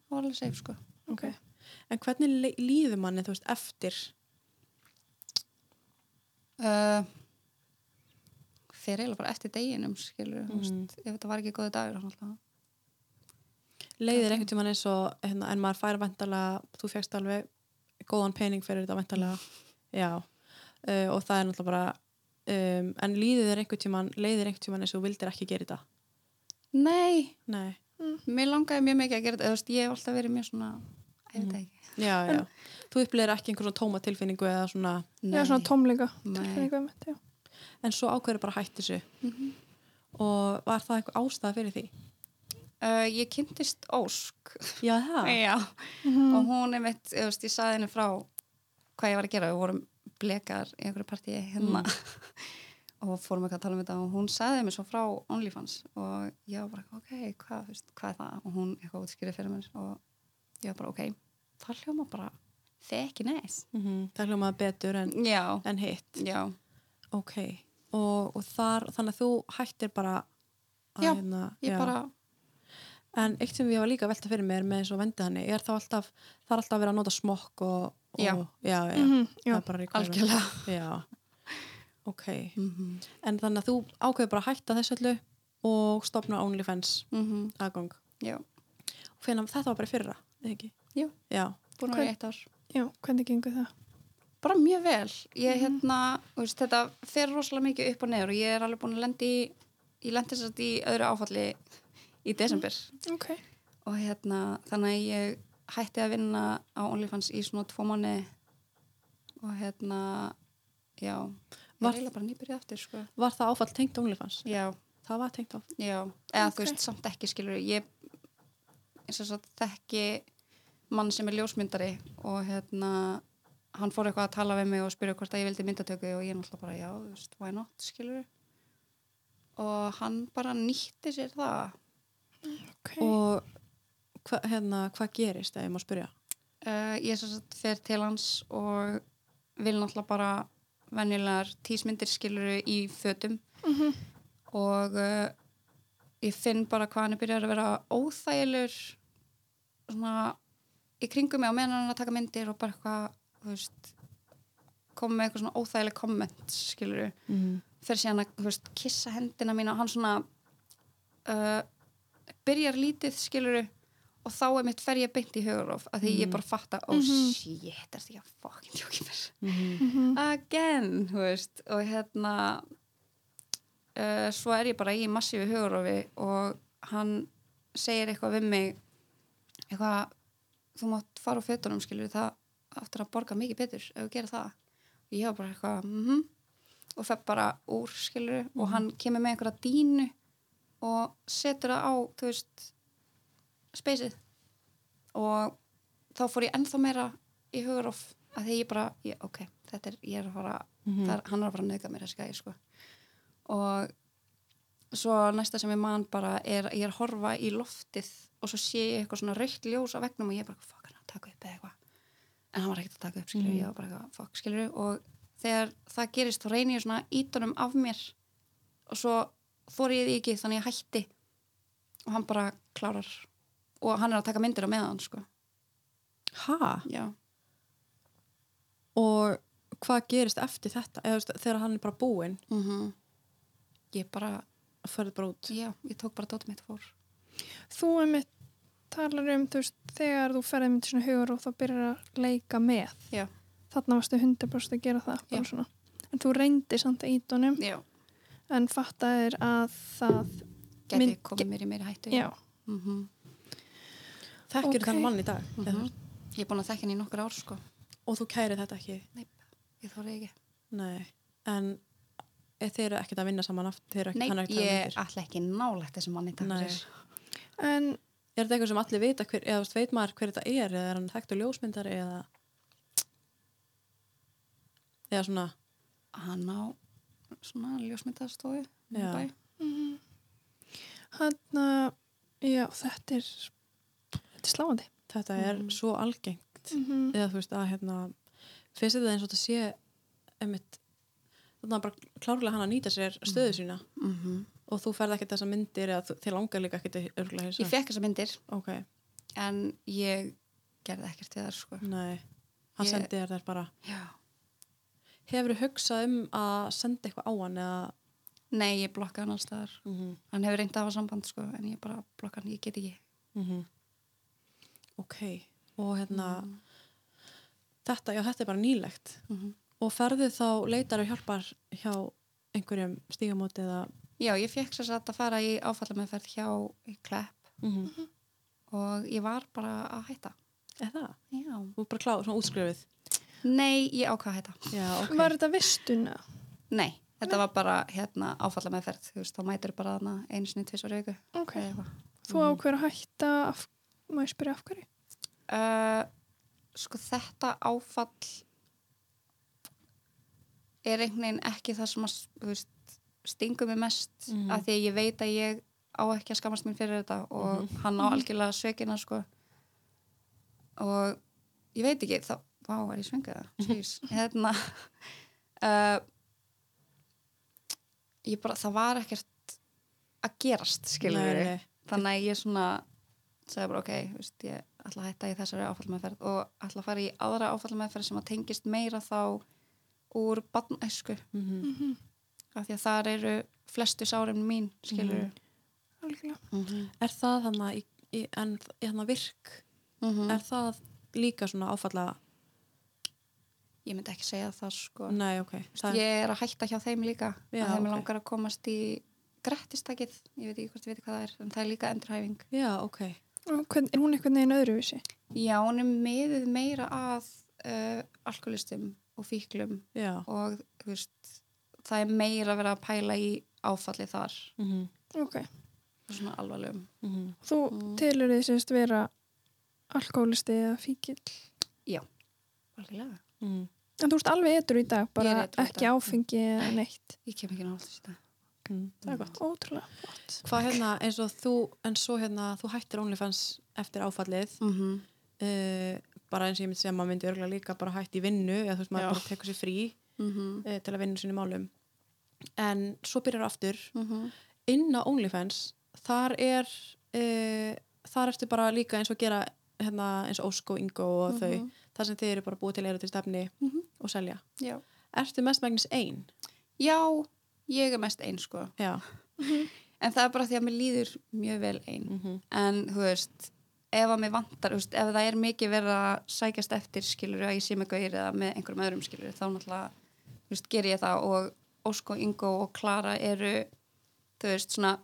S3: var alveg safe sko
S2: okay.
S1: En hvernig le- líður manni, þú veist, eftir?
S3: uh, fyrir eiginlega bara eftir deginum skilur, mm.
S1: Mhm.
S3: veist, ef þetta var ekki góði dagur þannig alltaf
S1: Leiðir einhvern tímann eins og, hérna, en maður fær vantarlega, þú fjækst alveg góðan pening fyrir þetta vantarlega, já. Uh, og það er náttúrulega bara, um, en líður þér einhvern tímann, leiðir einhvern tímann eins og þú vildir ekki gera þetta?
S3: nei,
S1: Nei.
S3: mér langaði mjög mikið að gera þetta eða, þú veist, ég hef alltaf verið mjög svona ég veit það ekki
S1: Já, já. Þú upplýðir ekki einhvern svona tóma tilfinningu eða svona,
S3: Mm.
S2: Já, svona tómleika
S3: Nei.
S2: tilfinningu einmitt, já.
S1: en svo ákveður bara að hætta þessu. Og var það eitthvað ástæða fyrir því?
S3: uh, ég kynntist Ósk
S1: Já, það.
S3: já, og hún er mitt ég, veist, ég saði henni frá hvað ég var að gera við vorum blekar í einhverju partíi hérna og fórum eitthvað að tala um þetta og hún saði mér svo frá OnlyFans og ég var bara ok, hvað, þú veist, hvað er það og hún eitthvað útskýrið fyrir mér og ég var bara ok, það hljóma bara þekki næs
S1: Mm Það hljómaði betur en,
S3: já,
S1: en hitt.
S3: já,
S1: Ok, og, og þar, þannig að þú hættir bara að
S3: Já,
S1: hérna,
S3: ég bara
S1: En eitt sem ég var líka að velta fyrir mér með eins og vendi þannig, er þá alltaf, það er alltaf að vera að nota smokk og, og
S3: Já.
S1: já, já,
S2: Mhm, já.
S1: það er bara ríkvæður.
S3: algjörlega
S1: Já, ok.
S3: mm -hmm.
S1: En þannig að þú ákveður bara að hætta þessu öllu og stopna OnlyFans aðgang.
S3: Mhm. já,
S1: Hvenær, þetta var bara í fyrra, eða ekki?
S3: Jú.
S1: Já,
S3: búin að vera í eitt ár
S2: já, hvernig gengur það?
S3: bara mjög vel ég hérna, þú veist, þetta fer rosalega mikið upp og neður og ég er alveg búin að lendi í ég lendi þess að í öðru áfalli í desember
S2: Ok,
S3: og hérna, þannig að ég hætti að vinna á OnlyFans í svona tvo manni og hérna já, ég
S1: Var-
S3: er eiginlega bara nýbyrja aftur sko.
S1: var það áfall tengt OnlyFans?
S3: já,
S1: Það var tengt áfall.
S3: já, eða
S2: Ok.
S3: þú veist, samt ekki skilur ég eins og svo þekki mann sem er ljósmyndari og hérna hann fór eitthvað að tala við mig og spyrja hvort að ég vildi myndatöku og ég er náttúrulega bara já, þú veist, why not, skilur og hann bara nýtti sér það
S2: ok
S1: Og hva, hérna, hvað gerist, ef ég má spyrja?
S3: uh, ég svo satt fer til hans og vil náttúrulega bara venjulegar tísmyndir skilur í fötum
S2: Mhm.
S3: og uh, ég finn bara hvað hann er byrjar að vera óþægilegur svona í kringum mig og meðan hann er að taka myndir og bara eitthvað, þú veist koma með eitthvað svona óþægileg komment skilur við
S1: Mm.
S3: fer síðan að þú veist, kissa hendina mína og hann svona uh, byrjar lítið skiluru og þá er mitt fer ég beint í hugarof að því ég bara fatta, oh shit, er þetta ekki að fucking tjókið mér Mhm. again, þú veist og hérna uh, svo er ég bara í massífi hugarofi og hann segir eitthvað við mig eitthvað, þú mátt fara á fötunum skilur það aftur að borga mikið betur ef þú gerir það og ég var bara eitthvað, mhm og fer bara úr skilur og hann kemur með einhverja dínu og setur það á þú veist speysið og þá fór ég ennþá meira í hugarof að því ég bara, ég, ok, þetta er ég er að fara,
S1: Mhm.
S3: mm er, hann er að fara að nöðga mér þessi gæði sko og svo næsta sem ég man bara er, ég er að horfa í loftið og svo sé ég eitthvað svona raukt ljós á vegnum og ég er bara, fuck, hann er að taka upp eða eitthvað en hann var ekkert að taka upp, skilur, ég var bara eitthvað, fuck, skilur og þegar það gerist þá reynir ég svona ítunum af mér og svo þóri ég því ekki þannig ég hætti og hann bara klárar og hann er að taka myndir á meðan sko.
S1: Hæ?
S3: já,
S1: og hvað gerist eftir þetta Eða, þú veist, þegar hann er bara búinn
S3: mm ég bara
S1: fyrir bara út
S3: já, ég tók bara dótið mitt og fór
S2: Þú einmitt talar um þú veist, þegar þú ferði með svona hugur og þá byrjar að leika með
S3: já,
S2: þarna varstu 100% að gera það bara
S3: Já.
S2: svona. en þú reyndi samt að ítunum
S3: já,
S2: en fattaðir að það
S3: geti
S2: Mynd-
S3: komið mér í meiri hættu
S2: já,
S3: mm
S1: þekkir okay.
S2: Ok.
S1: þann mann í dag
S3: Mhm.
S1: eða þú-
S3: ég er búin að þekka henni í nokkur ár sko.
S1: og þú kærið þetta ekki
S3: ég þóri ekki
S1: Nei. en e, þeir eru ekkert að vinna saman aftur þeir eru
S3: Nei,
S1: ekkert hann er ekkert að
S3: ég
S1: myndir
S3: ætla ekki nálægt þessum manni takk
S1: Nei.
S3: fyrir.
S2: en
S1: er þetta eitthvað sem allir vita hver, eða þú veist, veit maður hver þetta er eða er hann þekkt og ljósmyndari eða eða svona,
S3: hann á svona ljósmyndastofu
S1: Já.
S3: já.
S2: Mm. Hanna, já, þetta er, þetta er sláandi.
S1: þetta er
S3: Mhm.
S1: svo algengt
S2: Mm
S1: eða þú veist að hérna finnst þetta eins og þetta sé einmitt, þannig að bara klárlega hann að nýta sér stöðu sína
S3: Mm -hmm.
S1: og þú ferð ekkert þessar myndir eða þú- þér langar líka ekkert í- örugglega
S3: ég
S1: þessar
S3: fekk þessa myndir
S1: ok,
S3: en ég gerði ekkert við þar sko
S1: nei, hann
S3: Ég-
S1: sendi þér þær bara
S3: já.
S1: hefur þú hugsað um að senda eitthvað á hann eða
S3: nei, ég blokka hann alls staðar
S1: mm -hmm.
S3: hann hefur reyndi að hafa samband sko en ég bara blokka hann, ég get ekki
S1: Mhm. ok, og hérna
S3: Mhm.
S1: þetta, já þetta er bara nýlegt og ferðu þá leitar og hjálpar hjá einhverjum stígamóti eða
S3: já, ég fekk sér satt að fara í áfallameðferð hjá Klepp
S1: mm
S3: og ég var bara að hætta
S1: eða,
S3: já.
S1: þú er bara klár, svona útskrifið
S3: nei, ég ákvað að hætta
S1: já, ok,
S2: Var þetta vistuna?
S3: nei, þetta var bara hérna áfallameðferð þú veist, þá mætur bara þarna einu sinni tvisvar í viku
S2: Ok.
S3: eða eitthvað
S2: Þú ákveður að hætta, af, má ég spyrja af hverju?
S3: uh, sko þetta áfall er einhvern veginn ekki það sem að þú veist, stingur mig mest
S1: Mhm.
S3: af því að ég veit að ég á ekki að skammast mér fyrir þetta og
S1: Mhm.
S3: hann á algjörlega sökina sko og ég veit ekki þá, vá, er ég svengið það Jeez. hérna uh, ég bara, það var ekkert að gerast, skilur
S1: Nei,
S3: við
S1: nei.
S3: þannig að ég svona sagði bara ok, þú veist, ég ætla að hætta í þessari áfallmeðferð og ætla að fara í aðra áfallmeðferð sem að tengist meira þá úr barnæsku
S1: Mhm.
S3: af því að þar eru flestu sárum mín, skilur
S2: Algjörlega.
S3: mm -hmm.
S1: er það þannig að í- í- en þannig að virk
S3: Mhm.
S1: er það líka svona áfalla
S3: ég myndi ekki segja það sko
S1: nei, ok, Mm, það
S3: ég er að hætta hjá þeim líka
S1: Já,
S3: að þeim
S1: ok.
S3: langar að komast í grættistakið, ég veit ekki hvort ég veit hvað það er en það er líka endurhæfing
S1: já, ok
S2: Og Hvern, er hún einhvern veginn öðruvísi?
S3: já, hún er miðið meira að uh, alkoholistum og fíklum
S1: já,
S3: og þú veist, það er meira að vera að pæla í áfalli þar
S1: mm -hmm.
S2: Ok.
S3: svona alvarlegum
S1: Mm -hmm.
S2: Þú
S3: Mm.
S2: telur þið sérst vera alkoholisti eða fíkil.
S3: Algjörlega.
S1: Mhm.
S2: En þú ert alveg edru í dag,
S3: Ég
S2: bara
S3: er edrú í
S2: ekki
S3: dag. Mm.
S2: áfengi eða neitt.
S3: ég kem ekki náttúrulega þetta
S1: það er gott
S2: Ótrúlega flott.
S1: hvað hérna, eins og þú en svo hérna, þú hættir OnlyFans eftir áfallið
S3: mm -hmm.
S1: uh, bara eins og ég myndi segja að maður myndi örgulega líka bara hætti í vinnu eða þú veist maður
S3: Já.
S1: bara tekur sér frí
S3: Mm -hmm.
S1: uh, til að vinna sínum málum en svo byrjar aftur inn á OnlyFans þar er uh, þar ertu bara líka eins og gera hérna, eins og Ósko, Ingo og
S3: Mhm.
S1: þau þar sem þið eru bara búið til eru til stefni
S3: Mhm.
S1: og selja
S3: já.
S1: ertu mest megnis ein?
S3: já, ég er mest einn sko
S1: Já,
S3: en það er bara því að mér líður mjög vel einn
S1: mm
S3: en þú veist ef að mér vantar, þú veist, ef það er mikið verið að sækjast eftir skilur að ég sé með gauðir eða með einhverjum öðrum skilur þá náttúrulega, þú veist, ger ég það og Ósko, Ingo og Klara eru þú veist, svona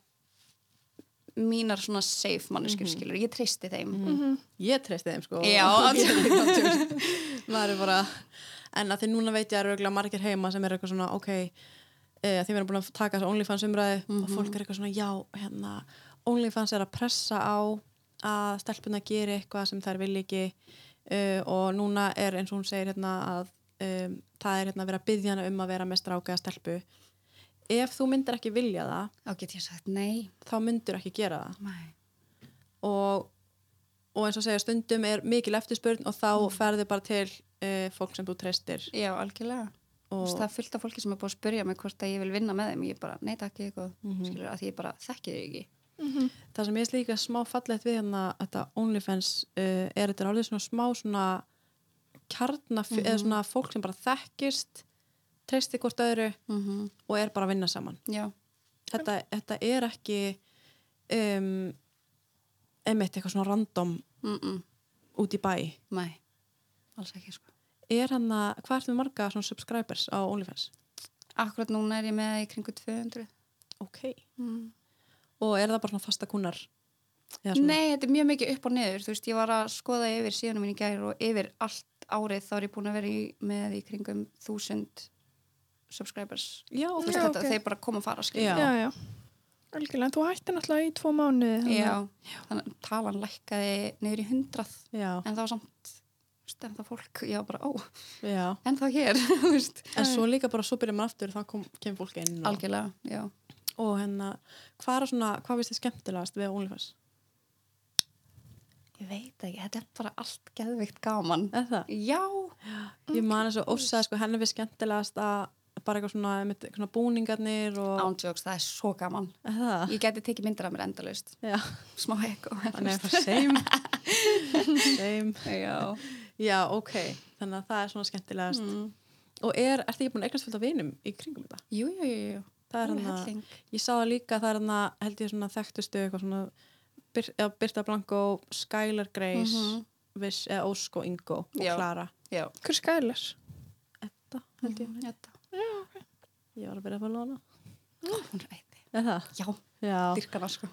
S3: mínar svona safe manneskjur skilur, ég treysti þeim
S1: ég treysti þeim sko
S3: Já,
S1: maður er bara en að því núna veit ég að eru örgulega margir heima sem er eitthvað svona, ok e, því við erum búin að taka þess að OnlyFans umræði og fólk er eitthvað svona, já, hérna OnlyFans er að pressa á að stelpuna geri eitthvað sem þær vil ekki e, og núna er eins og hún segir hérna að e, það er hérna að vera að byggja hana um að vera með strákaða stelpu ef þú myndir ekki vilja það
S3: þá get ég sagt nei,
S1: þá myndir ekki gera það
S3: nei.
S1: og, og eins og segja stundum er mikil eftirspurn og þá
S3: Mm.
S1: ferðu bara til uh, fólk sem þú treystir
S3: já, algjörlega Þú
S1: og
S3: veist, það er fullt af fólki sem er búið að spyrja mig hvort að ég vil vinna með þeim, ég bara, nei takk ég eitthvað
S1: Mhm.
S3: skilur, að því ég bara þekki þau ekki
S1: það sem ég er líka smá fallegt við hérna þetta OnlyFans uh, er þetta alveg svona smá svona kjarna, eða
S3: Mhm.
S1: svona fólk sem bara þekkist treystir hvort öðru
S3: mm
S1: og er bara að vinna saman
S3: já,
S1: þetta, þetta er ekki um, einmitt eitthvað svona random
S3: mm -mm.
S1: út í bæ
S3: nei, alls ekki sko
S1: er hann að, hvað ertu með marga svona subscribers á OnlyFans?
S3: Akkurat núna er ég með í kringu 200.
S1: ok
S3: Mm.
S1: og er það bara svona fasta kunnar Eða svona-
S3: Nei, þetta er mjög mikið upp og niður. Þú veist, ég var að skoða yfir síðanum mín í gær og yfir allt árið þá er ég búin að vera í, með í kringum 1000 subscribers.
S1: já,
S3: Þú
S1: ok.
S3: veist,
S2: Já,
S3: þetta,
S2: ok.
S3: þeir bara koma að fara, skilja.
S1: Já.
S2: Já, já. Algjörlega. En þú hættir náttúrulega í tvo mánuði. þannig að-
S3: Já, þannig að talan lækkaði niður í 100
S1: já,
S3: en það var samt þú veist, en það fólk, ég var bara, ó,
S1: já.
S3: en það hér, þú veist,
S1: En svo líka bara, svo byrjum maður aftur, þá kom, kemur fólk inn og,
S3: algjörlega, já.
S1: og hérna, hvað er svona, hvað finnst þið skemmtilegast við OnlyFans?
S3: Ég veit ekki, þetta er bara allt geðvikt gaman.
S1: Er það?
S3: Já,
S1: Ég man þess að ósaði, sko, henni finnst skemmtilegast að bara eitthvað svona, einmitt, svona búningarnir og,
S3: ándjóks, það er svo gaman.
S1: er það?
S3: Ég geti tekið myndir af mér endalaust,
S1: Já,
S3: smá ekko.
S1: þannig að það same, same.
S3: Já.
S1: Já, ok, þannig að það er svona
S3: Mm.
S1: skemmtilegast. Og er, ertu ekki búin að eignast fullt af vinum í kringum þetta?
S3: Jú, jú, jú, jú.
S1: Það er
S3: Alveg
S1: hann að,
S3: helling.
S1: ég sá það líka, það er hann að, held ég svona þekktustu eitthvað svona, Bir, eða Birta Blanko, Skylar Grace,
S3: Mhm.
S1: Viss, eða Ósko Ingo og
S3: Já.
S1: Klara.
S3: Já.
S2: Hver skælar?
S1: Edda, held ég. Mm.
S3: Þetta.
S1: Ég var að byrja að fara lóna.
S3: Hún reyði.
S1: Er það?
S3: Já,
S1: Já.
S3: dyrkana sko.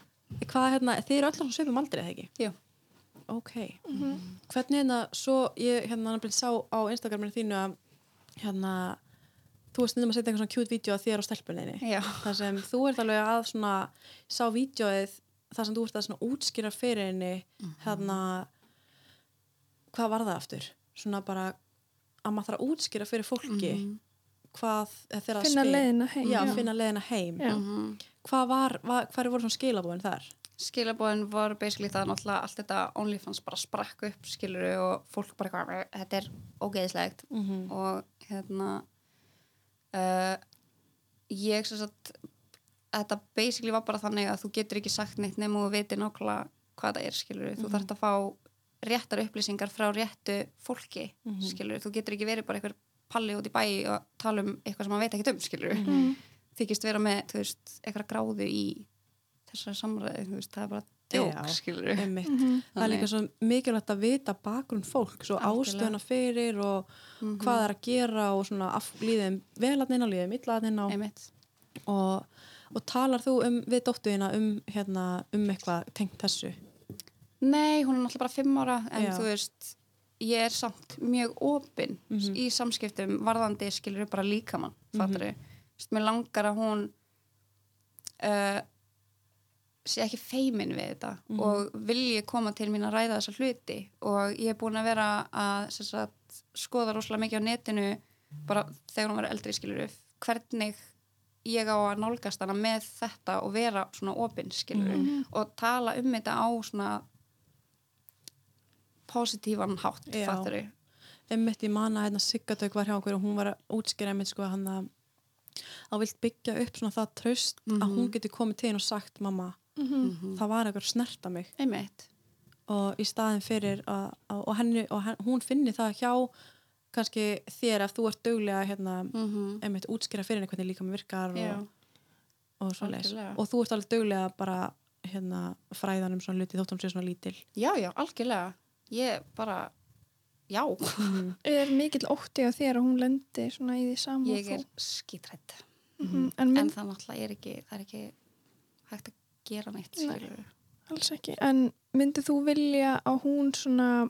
S1: Hvað hérna, þið eru allar svona sögum aldrei, eða ekki?
S3: Já.
S1: Ok. Hvernig hérna, svo ég hérna nefnilega sá á Instagraminu þínu að hérna, þú veist nefnilega að setja eitthvað svona cute vídeo að þér á stelpunniðinni.
S3: Já.
S1: þar sem þú ert alveg að svona sá vídjóið þar sem þú ert að svona útskýra fyrir henni hérna hvað var það aftur? Svona bara að maður þarf að útskýra fyrir fólki
S3: Mhm.
S1: hvað eða þeirra
S2: Finna
S1: spil-
S2: leiðina heim.
S1: Já, finna leiðina heim.
S2: Já.
S3: Mhm.
S1: Hvað var, var hvað voru svona skilabóin þar?
S3: skilabóðin var basically það náttúrulega allt þetta OnlyFans bara sprakk upp skiluru og fólk bara hvað þetta er ógeðislegt og hérna uh, ég sem sagt þetta basically var bara þannig að þú getur ekki sagt neitt nema þú veitir nákvæmlega hvað það er skiluru,
S1: Mhm.
S3: þú þarft að fá réttar upplýsingar frá réttu fólki mm
S1: Mhm.
S3: þú getur ekki verið bara einhver palli út í bæi og tala um eitthvað sem maður veit ekki um skiluru,
S1: Mhm.
S3: þykist vera með þú veist, eitthvað gráðu í þessari samræði, þú veist, það er bara djók,
S1: Já.
S3: skilur við.
S2: Mhm.
S1: Einmitt. Það er líka svo mikilvægt að vita bakgrunn fólk, svo
S3: Algjörlega. Mhm.
S1: ástöðuna fyrir og hvað það er að gera og svona af líðum velatnina, líðum illatnina og
S3: Einmitt.
S1: og, og talar þú um, við dóttuðina um, hérna, um eitthvað tengt þessu
S3: Nei, hún er náttúrulega bara fimm ára, en
S1: Já.
S3: þú veist, ég er samt mjög opin í samskiptum varðandi, skilur við, bara líkamann, fattur við. Þú veist, mér langar að hún uh, sé ekki feimin við þetta og vilji koma til mín að ræða þessa hluti og ég er búin að vera að sem sagt, skoða rosalega mikið á netinu bara þegar hún verið eldri, skilur við, hvernig ég á að nálgast hana með þetta og vera svona opin skilur og tala um þetta á svona positífan hátt
S1: Já.
S3: fattur
S1: einmitt ég man að hérna Siggadögg var hjá okkur og hún var að útskýra einmitt sko hann að að vilt byggja upp svona það tröst
S3: Mhm.
S1: að hún geti komið til henn og sagt mamma,
S2: Mhm.
S1: það var eitthvað að snerta mig
S3: einmitt
S1: og í staðin fyrir að, að, og, henni, og henn, hún finni það hjá kannski þér að þú ert duglega hérna,
S3: -hmm.
S1: einmitt útskýra fyrir henni hvernig líka með virkar
S3: Já,
S1: og, og svo
S3: algjörlega.
S1: og þú ert alveg duglega bara hérna fræðan um svona luti þótt hún sé svona lítil
S3: já, já, algjörlega ég bara, já
S2: Er mikill ótti á þér að hún lendi svona í því saman
S3: ég er skítrætt
S2: -hmm. En
S3: en
S2: mynd
S3: það náttúrulega er ekki það er ekki hægt að gera neitt
S2: Nei.
S3: skilurðu.
S2: alls ekki. En myndið þú vilja að hún svona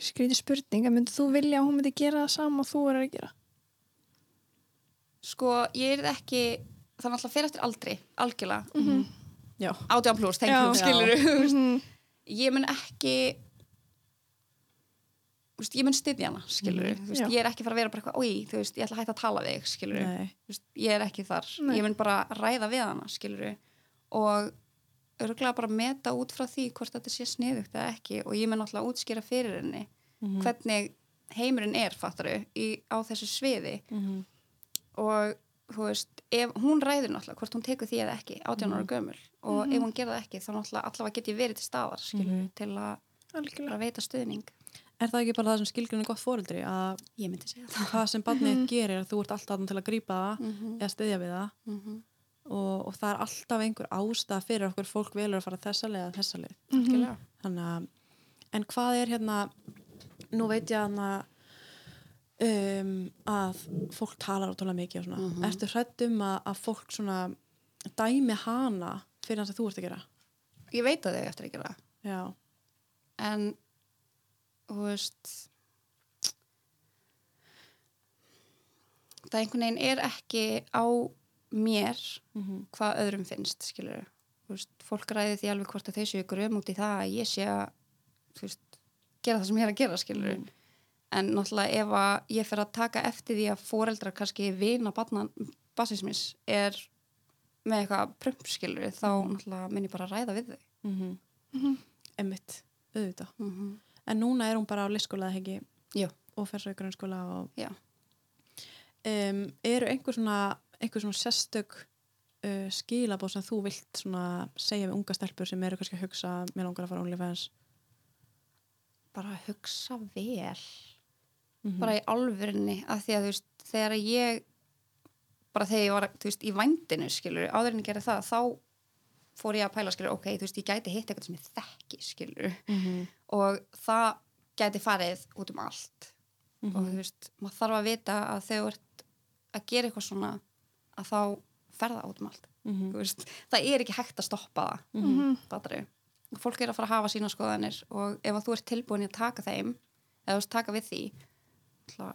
S2: skríti spurning, en myndið þú vilja að hún myndi gera það sama og þú er að gera?
S3: sko, ég er ekki það náttúrulega fyrir eftir aldrei, algjörlega mm
S2: Mhm.
S1: Já,
S3: átján pluss,
S2: Já.
S3: tengjum, skilur við
S2: -hmm.
S3: ég mun ekki þú veist, ég mun styðja hana skilur
S1: Mhm.
S3: þú veist,
S2: Mm-hmm. Já.
S3: ég er ekki fara að vera bara eitthvað "Oj, þú veist, ég ætla að hætta að tala við þig skilur
S1: nei,
S3: veist, ég er ekki þar
S2: Nei.
S3: ég mun bara ræða við hana skilur og örgulega bara meta út frá því hvort þetta sé sniðugt eða ekki og ég mun alltaf útskýra fyrir henni Mhm.
S2: Mm.
S3: hvernig heimurinn er fattaru í, á þessu sviði og þú veist, ef hún ræður náttúrulega hvort hún tekur því eða ekki, 18
S2: Mm.
S3: ára gömul og
S2: Mm-hmm.
S3: ef hún gerða ekki, þá náttúrulega allavega get ég verið til staðar, skilur, til að
S2: Algjörlega.
S3: bara veita stuðning.
S1: Er það ekki bara það sem skilgrunni gott fóreldri að
S3: Ég myndi segja það.
S1: hvað sem barnið gerir að þú ert alltaf þarna til að grípa það
S3: Mhm,
S1: eða styðja við það og, og það er alltaf einhver ástæða fyrir okkur fólk velur að fara þessa leið að þessa leið
S3: Algjörlega.
S1: Þannig að, en hvað er hérna, nú veit ég hérna, um, að fólk talar ótrúlega mikið og svona. Ertu hrædd um að, að fólk svona dæmi hana fyrir hans að þú ert að gera?
S3: Ég veit að þau eftir að gera það.
S1: Já,
S3: en þú veist það einhvern veginn er ekki á mér hvað öðrum finnst skilur veist, fólk ræði því alveg hvort að þau séu grum út í það að ég sé að þú veist, gera það sem ég er að gera skilur en náttúrulega ef að ég fer að taka eftir því að foreldrar kannski vina basismis er með eitthvað prump skilur þá náttúrulega minn ég bara að ræða við þau
S1: mm -hmm. Emmitt, auðvitað
S3: mm -hmm.
S1: En núna er hún bara á listskóla eða ekki
S3: Já.
S1: og fer svo í grunnskóla og
S3: Já.
S1: um, Eru einhver svona, einhver svona sérstök uh, skilabóð sem þú vilt svona segja við unga stelpur sem eru kannski að hugsa mér langar að fara OnlyFans
S3: bara að hugsa vel
S1: mm
S3: bara í alvörinni að því að þú veist, þegar ég bara þegar ég var þú veist, í vændinu skilur, áður en ég gerði það þá fór ég að pæla skilur, ok, þú veist, ég gæti hitt eitthvað sem ég þekki skilur
S1: -hmm.
S3: og það gæti farið út um allt
S1: Mhm,
S3: og þú veist, maður þarf að vita að þegar þú ert að gera eitthvað svona að þá ferða út um allt
S1: Mhm.
S3: Þú veist, það er ekki hægt að stoppa það
S2: Mhm.
S3: fattari. fólk er að fara að hafa sína skoðanir og ef að þú ert tilbúin í að taka þeim eða þú veist taka við því ætla,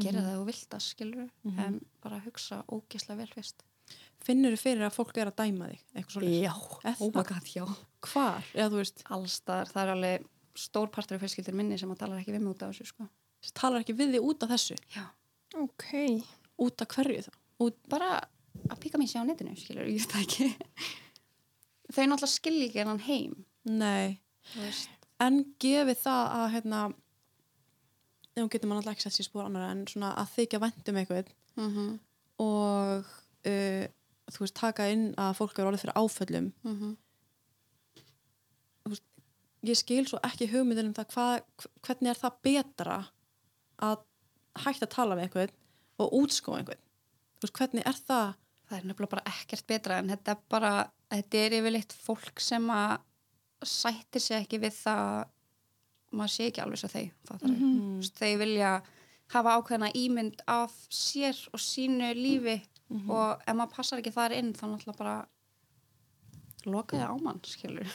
S3: gera það ef þú vilt að skilur en bara hugsa ógislega vel fyrst
S1: Finnur þú fyrir að fólk er að dæma þig eitthvað svo
S3: Já,
S1: Er
S3: oh my
S1: það?
S3: god, já
S1: Hvar? Eða þú veist,
S3: Allstar, það er alveg stór partur af fjölskyldur minni sem að tala ekki við mig út af þessu sko.
S1: talar ekki við þig út af þessu
S3: Já,
S2: Ok,
S1: út af hverju þá? Út,
S3: bara að píka mér sér á netinu skilur, ég veit það ekki Þau náttúrulega skilja ekki hennan heim
S1: nei
S3: þú veist.
S1: en gefið það að hérna ef hún getur maður alltaf ekki sett sér spór annara en svona að þykja vendum eitthvað
S3: Mm -hmm.
S1: og uh, þú veist taka inn að fólk eru orðið fyrir áföllum
S3: Mm -hmm.
S1: ég skil svo ekki hugmyndin um það hvað, hvernig er það betra að hægt að tala við eitthvað og útskóa eitthvað þú veist hvernig er það
S3: það er nefnilega bara ekkert betra en þetta er bara, þetta er yfirleitt fólk sem að sættir sig ekki við það að maður sé ekki alveg svo þeir mm
S1: Mhm.
S3: -hmm. þeir vilja hafa ákveðna ímynd af sér og sínu lífi og ef maður passar ekki þar inn þá náttúrulega bara lokaði á mann skilur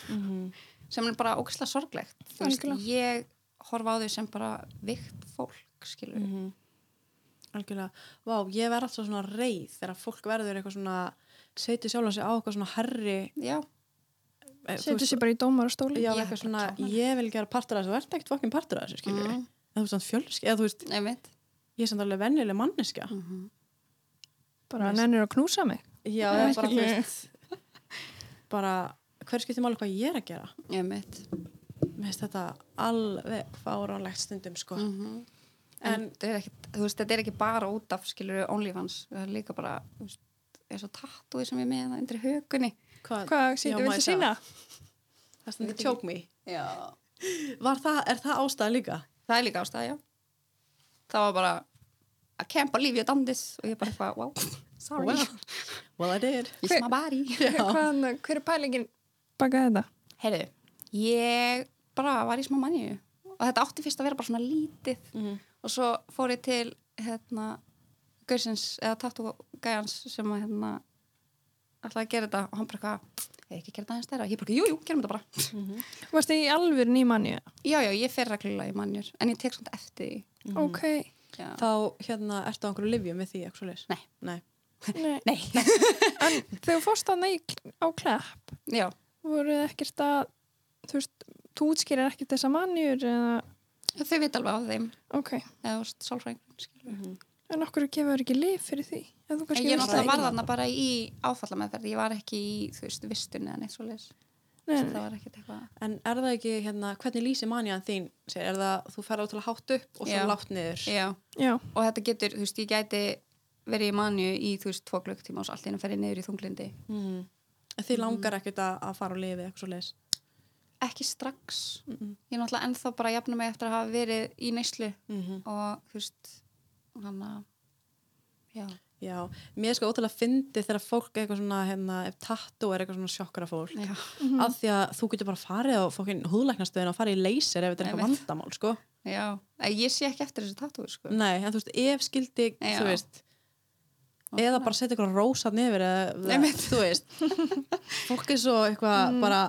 S3: sem er bara ógæslega sorglegt Þú veist,
S2: Algjörlega.
S3: ég horfa á þau sem bara vikt fólk skilur
S1: Mhm. algjörlega, vá, ég verð alltaf svona reið þegar fólk verður eitthvað svona setur sjálf sig á eitthvað svona herri
S3: já,
S1: eh, þú
S2: setur
S1: veist,
S2: sér bara í dómarastóli
S1: já,
S3: Ég
S1: eitthvað
S3: er
S1: svona,
S3: bara klánar.
S1: ég vil gera partur af þessu, þú ert ekkert fokkin partur af þessu, skilur
S3: Mhm.
S1: eða þú veist, hann fjölsk, eða þú veist,
S3: einmitt
S1: ég er samt alveg venjuleg manneska
S3: mm -hmm.
S2: Bara nennir að knúsa mig
S1: já, eða bara, þú veist bara, hver skiptir máli hvað ég er að gera
S3: einmitt
S1: mér finnst þetta alveg fáránlegt stundum, sko
S3: mm en
S1: En-
S3: þetta er, ekki, veist, þetta er ekki bara út af skilur OnlyFans, það er líka bara þú veist, eins og tattúi sem ég er með það undir hökunni
S1: hvað,
S2: Hvað
S1: Já,
S2: sýndu,
S1: maður
S2: viltu
S1: sá.
S2: sína?
S1: það stundur tjók mig
S3: já.
S1: var það, er það ástæða líka?
S3: það er líka ástæða, já það var bara að kempa lífi og dandis og ég bara eitthvað, wow, sorry
S1: Well, well I did
S3: it's my body
S2: Hvað, hver er pælingin baka þetta?
S3: heyrðu, ég bara var í smá manju og þetta átti fyrst að vera bara svona lítið
S1: Mhm.
S3: og svo fór ég til hérna, Gursins eða tattúgæjans sem að hérna ætlaði að gera þetta og hann bara eitthvað "Eigum við ekki að gera þetta aðeins þeirra, ég bara, jú, jú, gerum þetta bara
S2: Varst þið í alvöru nýmanni?
S3: já, já, ég fer reglulega í mannjur en ég tek svona eftir því
S2: Mm. Ok,
S3: já.
S1: þá, hérna, ertu á einhverju livjum við því, eitthvað svo
S3: Nei.
S1: nei,
S2: nei
S3: nei,
S2: Þegar þú fórst þarna í, á klepp
S3: já,
S2: voru þið ekkert að þú veist, þú útskýrir ekkert þessa mannjur eða,
S3: þau veit alveg á þeim
S2: ok,
S3: eða sálfræðingur
S2: en okkur gefur ekki lif fyrir því en þú kannski
S3: ég er
S2: veist
S3: náttúrulega
S2: það
S3: varð þarna bara í áfallameðferð ég var ekki í, þú veist, vistun eða neitt svo leis
S2: Nei,
S3: það
S2: nei.
S3: var ekkert eitthvað
S1: En er það ekki, hérna, hvernig lýsi manjan þín? Sér, Er það, þú ferð ótrúlega hátt upp og svo
S3: Já.
S1: látt niður?
S3: já,
S2: já,
S3: og þetta getur, þú veist, ég gæti verið í mannju í, þú veist, tvo klukktíma og svo allt í einu ferið niður í þunglindi
S1: Mm.
S3: Mm-hmm.
S1: En þið langar ekkert að, að fara og lifi eitthvað svo leiðis?
S3: ekki strax, ég er náttúrulega ennþá bara að jafna mig eftir að hafa verið í neyslu og, þú veist, hann að já,
S1: Já, mér er sko ótrúlega fyndi þegar fólk er eitthvað svona, hérna, ef tattoo er eitthvað svona sjokkara fólk,
S3: já,
S1: af því að þú getur bara farið á fólkin húðlæknastöðin og farið í leysir ef þetta er eitthvað
S3: Einmitt.
S1: vandamál, sko.
S3: já. En ég sé ekki eftir þessu tattúi, sko
S1: Nei, en þú veist, ef skildi,
S3: Já.
S1: þú veist,
S3: Og
S1: eða
S3: svona.
S1: bara setja eitthvað rósat nefir eða, eða
S3: Einmitt. Mm.
S1: þú veist, fólk er svo eitthvað bara,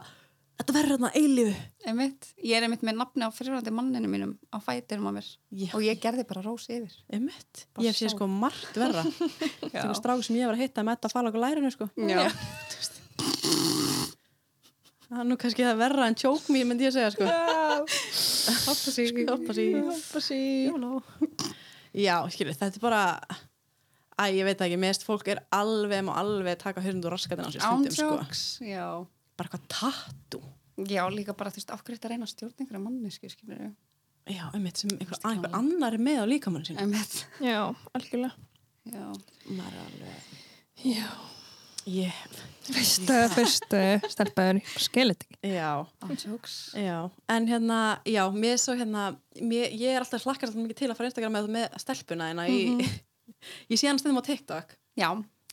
S1: þetta verður hérna eilífu.
S3: Einmitt. Ég er einmitt með nafni á fyrirvændi manninu mínum á fætinum á mér
S1: Já.
S3: og ég gerði bara rós yfir.
S1: Einmitt,
S3: Bara
S1: ég hef séð
S3: sá.
S1: sko margt verra Þegar strák sem ég var að hitta með þetta falag og lærinu sko
S3: Já.
S1: Það er nú kannski það verra en tjók mér, myndi ég að segja, sko.
S4: Hoppa sig.
S1: Hoppa sig. Já, skilur, þetta er bara... Æ, ég veit það ekki, meðist fólk er alveg má alveg taka hörnund og raskatina á sér
S3: Án
S1: stundum, sko.
S3: jokes, já.
S1: Bara hvað tattu.
S3: Já, líka bara, þú veist, af hverju þetta reyna að stjórna einhverja mannesku, skilur ég.
S1: Já, einmitt sem einhver, einhver annar er með á líkamann sinni.
S3: Emmett.
S2: Já, algjörlega.
S3: Já.
S1: Maður er alveg...
S2: Já.
S1: Yeah.
S2: Fyrsta, fyrsta stelpaður, skilit ekki.
S1: Já.
S3: Án jokes.
S1: Já, en hérna, já, mér er svo hérna, mér, ég er alltaf hlakkar alltaf mikið til að fara á Instagram með, með stelpuna hérna, ég, ég sé hann stundum á TikTok,
S3: Já.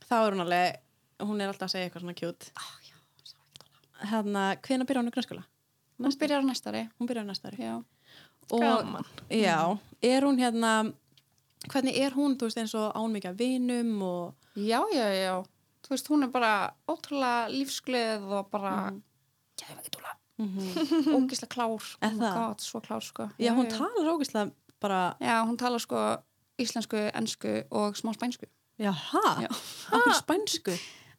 S1: þá er hún alveg, hún er alltaf að segja eitthvað svona kjút.
S3: Ah, já.
S1: Hérna, hvenær byrjar hún í grunnskóla?
S3: Hún byrjar á næstari.
S1: Hún byrjar á næsta ári.
S3: Já.
S1: Og,
S2: Gaman.
S1: já, er hún hérna, hvernig er hún, þú veist, eins og án mikið af vinum og,
S3: Já, já, já. Þú veist, hún er bara ótrúlega lífsgleð og bara,
S1: Mm.
S3: já, ég veit ekki túla, ógislega klár.
S1: Er
S3: Oh my
S1: það?
S3: God, svo klár, sko.
S1: Mhm. já, hún
S3: já.
S1: talar ógeðslega bara,
S3: Já, hún talar sko íslensku, ennsku og smá spænsku.
S1: já, hæ?
S3: Já.
S1: Akkur spænsku?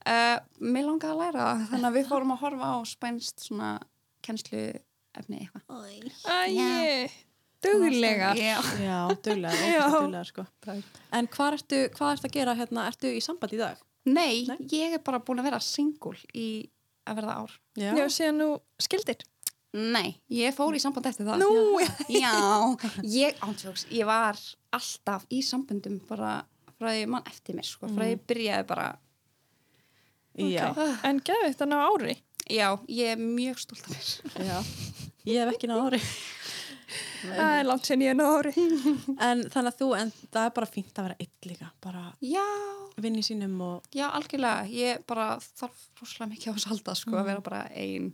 S3: Uh, mér langaði að læra það, þannig að við fórum að horfa á spænst svona kennslu efni eitthvað.
S2: Æi, duglega.
S3: Já.
S1: Já, duglega,
S2: Já.
S1: ógeðslega duglega, sko. En hvað ertu, hvað ertu að gera, hérna, ertu í sambandi í dag?
S3: Nei,
S1: Nei.
S3: ég er bara búin að vera singul í að verða ár.
S2: Já, síðan nú skildir.
S3: Nei, ég fór í samband eftir það.
S1: Nú,
S3: Já, ég, ántjóks, ég var alltaf í sambundum bara frá því mann eftir mér, sko, frá því ég byrjaði bara,
S1: já,
S2: En gefið þetta ná ári.
S3: já, ég er mjög stolt af mér.
S1: já. Ég hef ekki náður ári.
S2: Það er langt síðan ég er ná ári.
S1: En þannig að þú, en það er bara fínt að vera einn líka. Bara
S3: Já,
S1: vinni sínum og...
S3: já, algjörlega, ég bara þarf rosalega mikið á þess að halda, sko, að vera bara ein.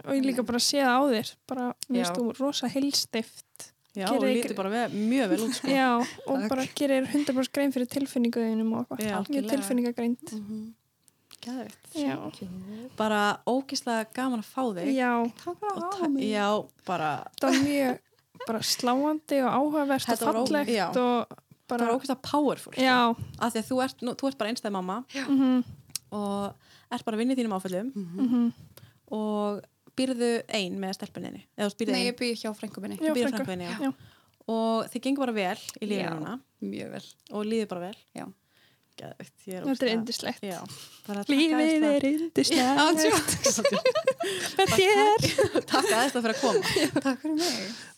S2: Og ég líka bara séð á þér. Bara,
S3: Já.
S2: minnst þú, rosa heilstift.
S1: Já,
S2: Gerið
S1: og
S2: ykkur-
S1: lítur bara ve mjög vel út, sko.
S2: Já, og bara gerir 100% grein fyrir tilfinninguðinum
S1: Já, Mm.
S2: og eitthvað. Mjög
S3: algjörlega.
S2: tilfinningagreind.
S3: Mhm.
S1: Geðveikt.
S2: Já.
S1: Bara ógislega gaman að fá þig.
S2: Já,
S3: Takk fyrir
S1: Og
S3: að
S1: ta-
S3: hafa mig.
S1: Já, bara...
S2: þetta var mjög bara sláandi og áhugavert og
S1: Þetta var ó- já.
S2: fallegt og
S1: Það
S2: bara...
S1: var ógislega powerful. sko.
S2: Já,
S1: Af því að þú ert, nú, þú ert bara einstæð mamma
S2: mm
S1: og ert bara vinnið þínum áfællum
S2: mhm.
S1: og býrðu ein með stelpuninni. Eða þú býrðu
S3: Nei,
S1: ein.
S3: ég byrja hjá frængu minni.
S1: Þú
S2: Já,
S1: býður
S2: frænku.
S1: frænku þinni, já.
S2: Já.
S1: Og þið gengur bara vel í
S3: Já.
S1: lífið núna
S3: Mjög vel.
S1: og líður bara vel.
S3: Já.
S1: Geðveikt, ég er
S2: þetta er
S1: ógeðslega-
S2: indislegt.
S1: Já. bara að takka aðeins
S2: Lífið
S1: það-
S2: er indislegt.
S1: Já,
S2: Með þér.
S1: Takk aðeins það fyrir að koma.
S3: Takk fyrir mig.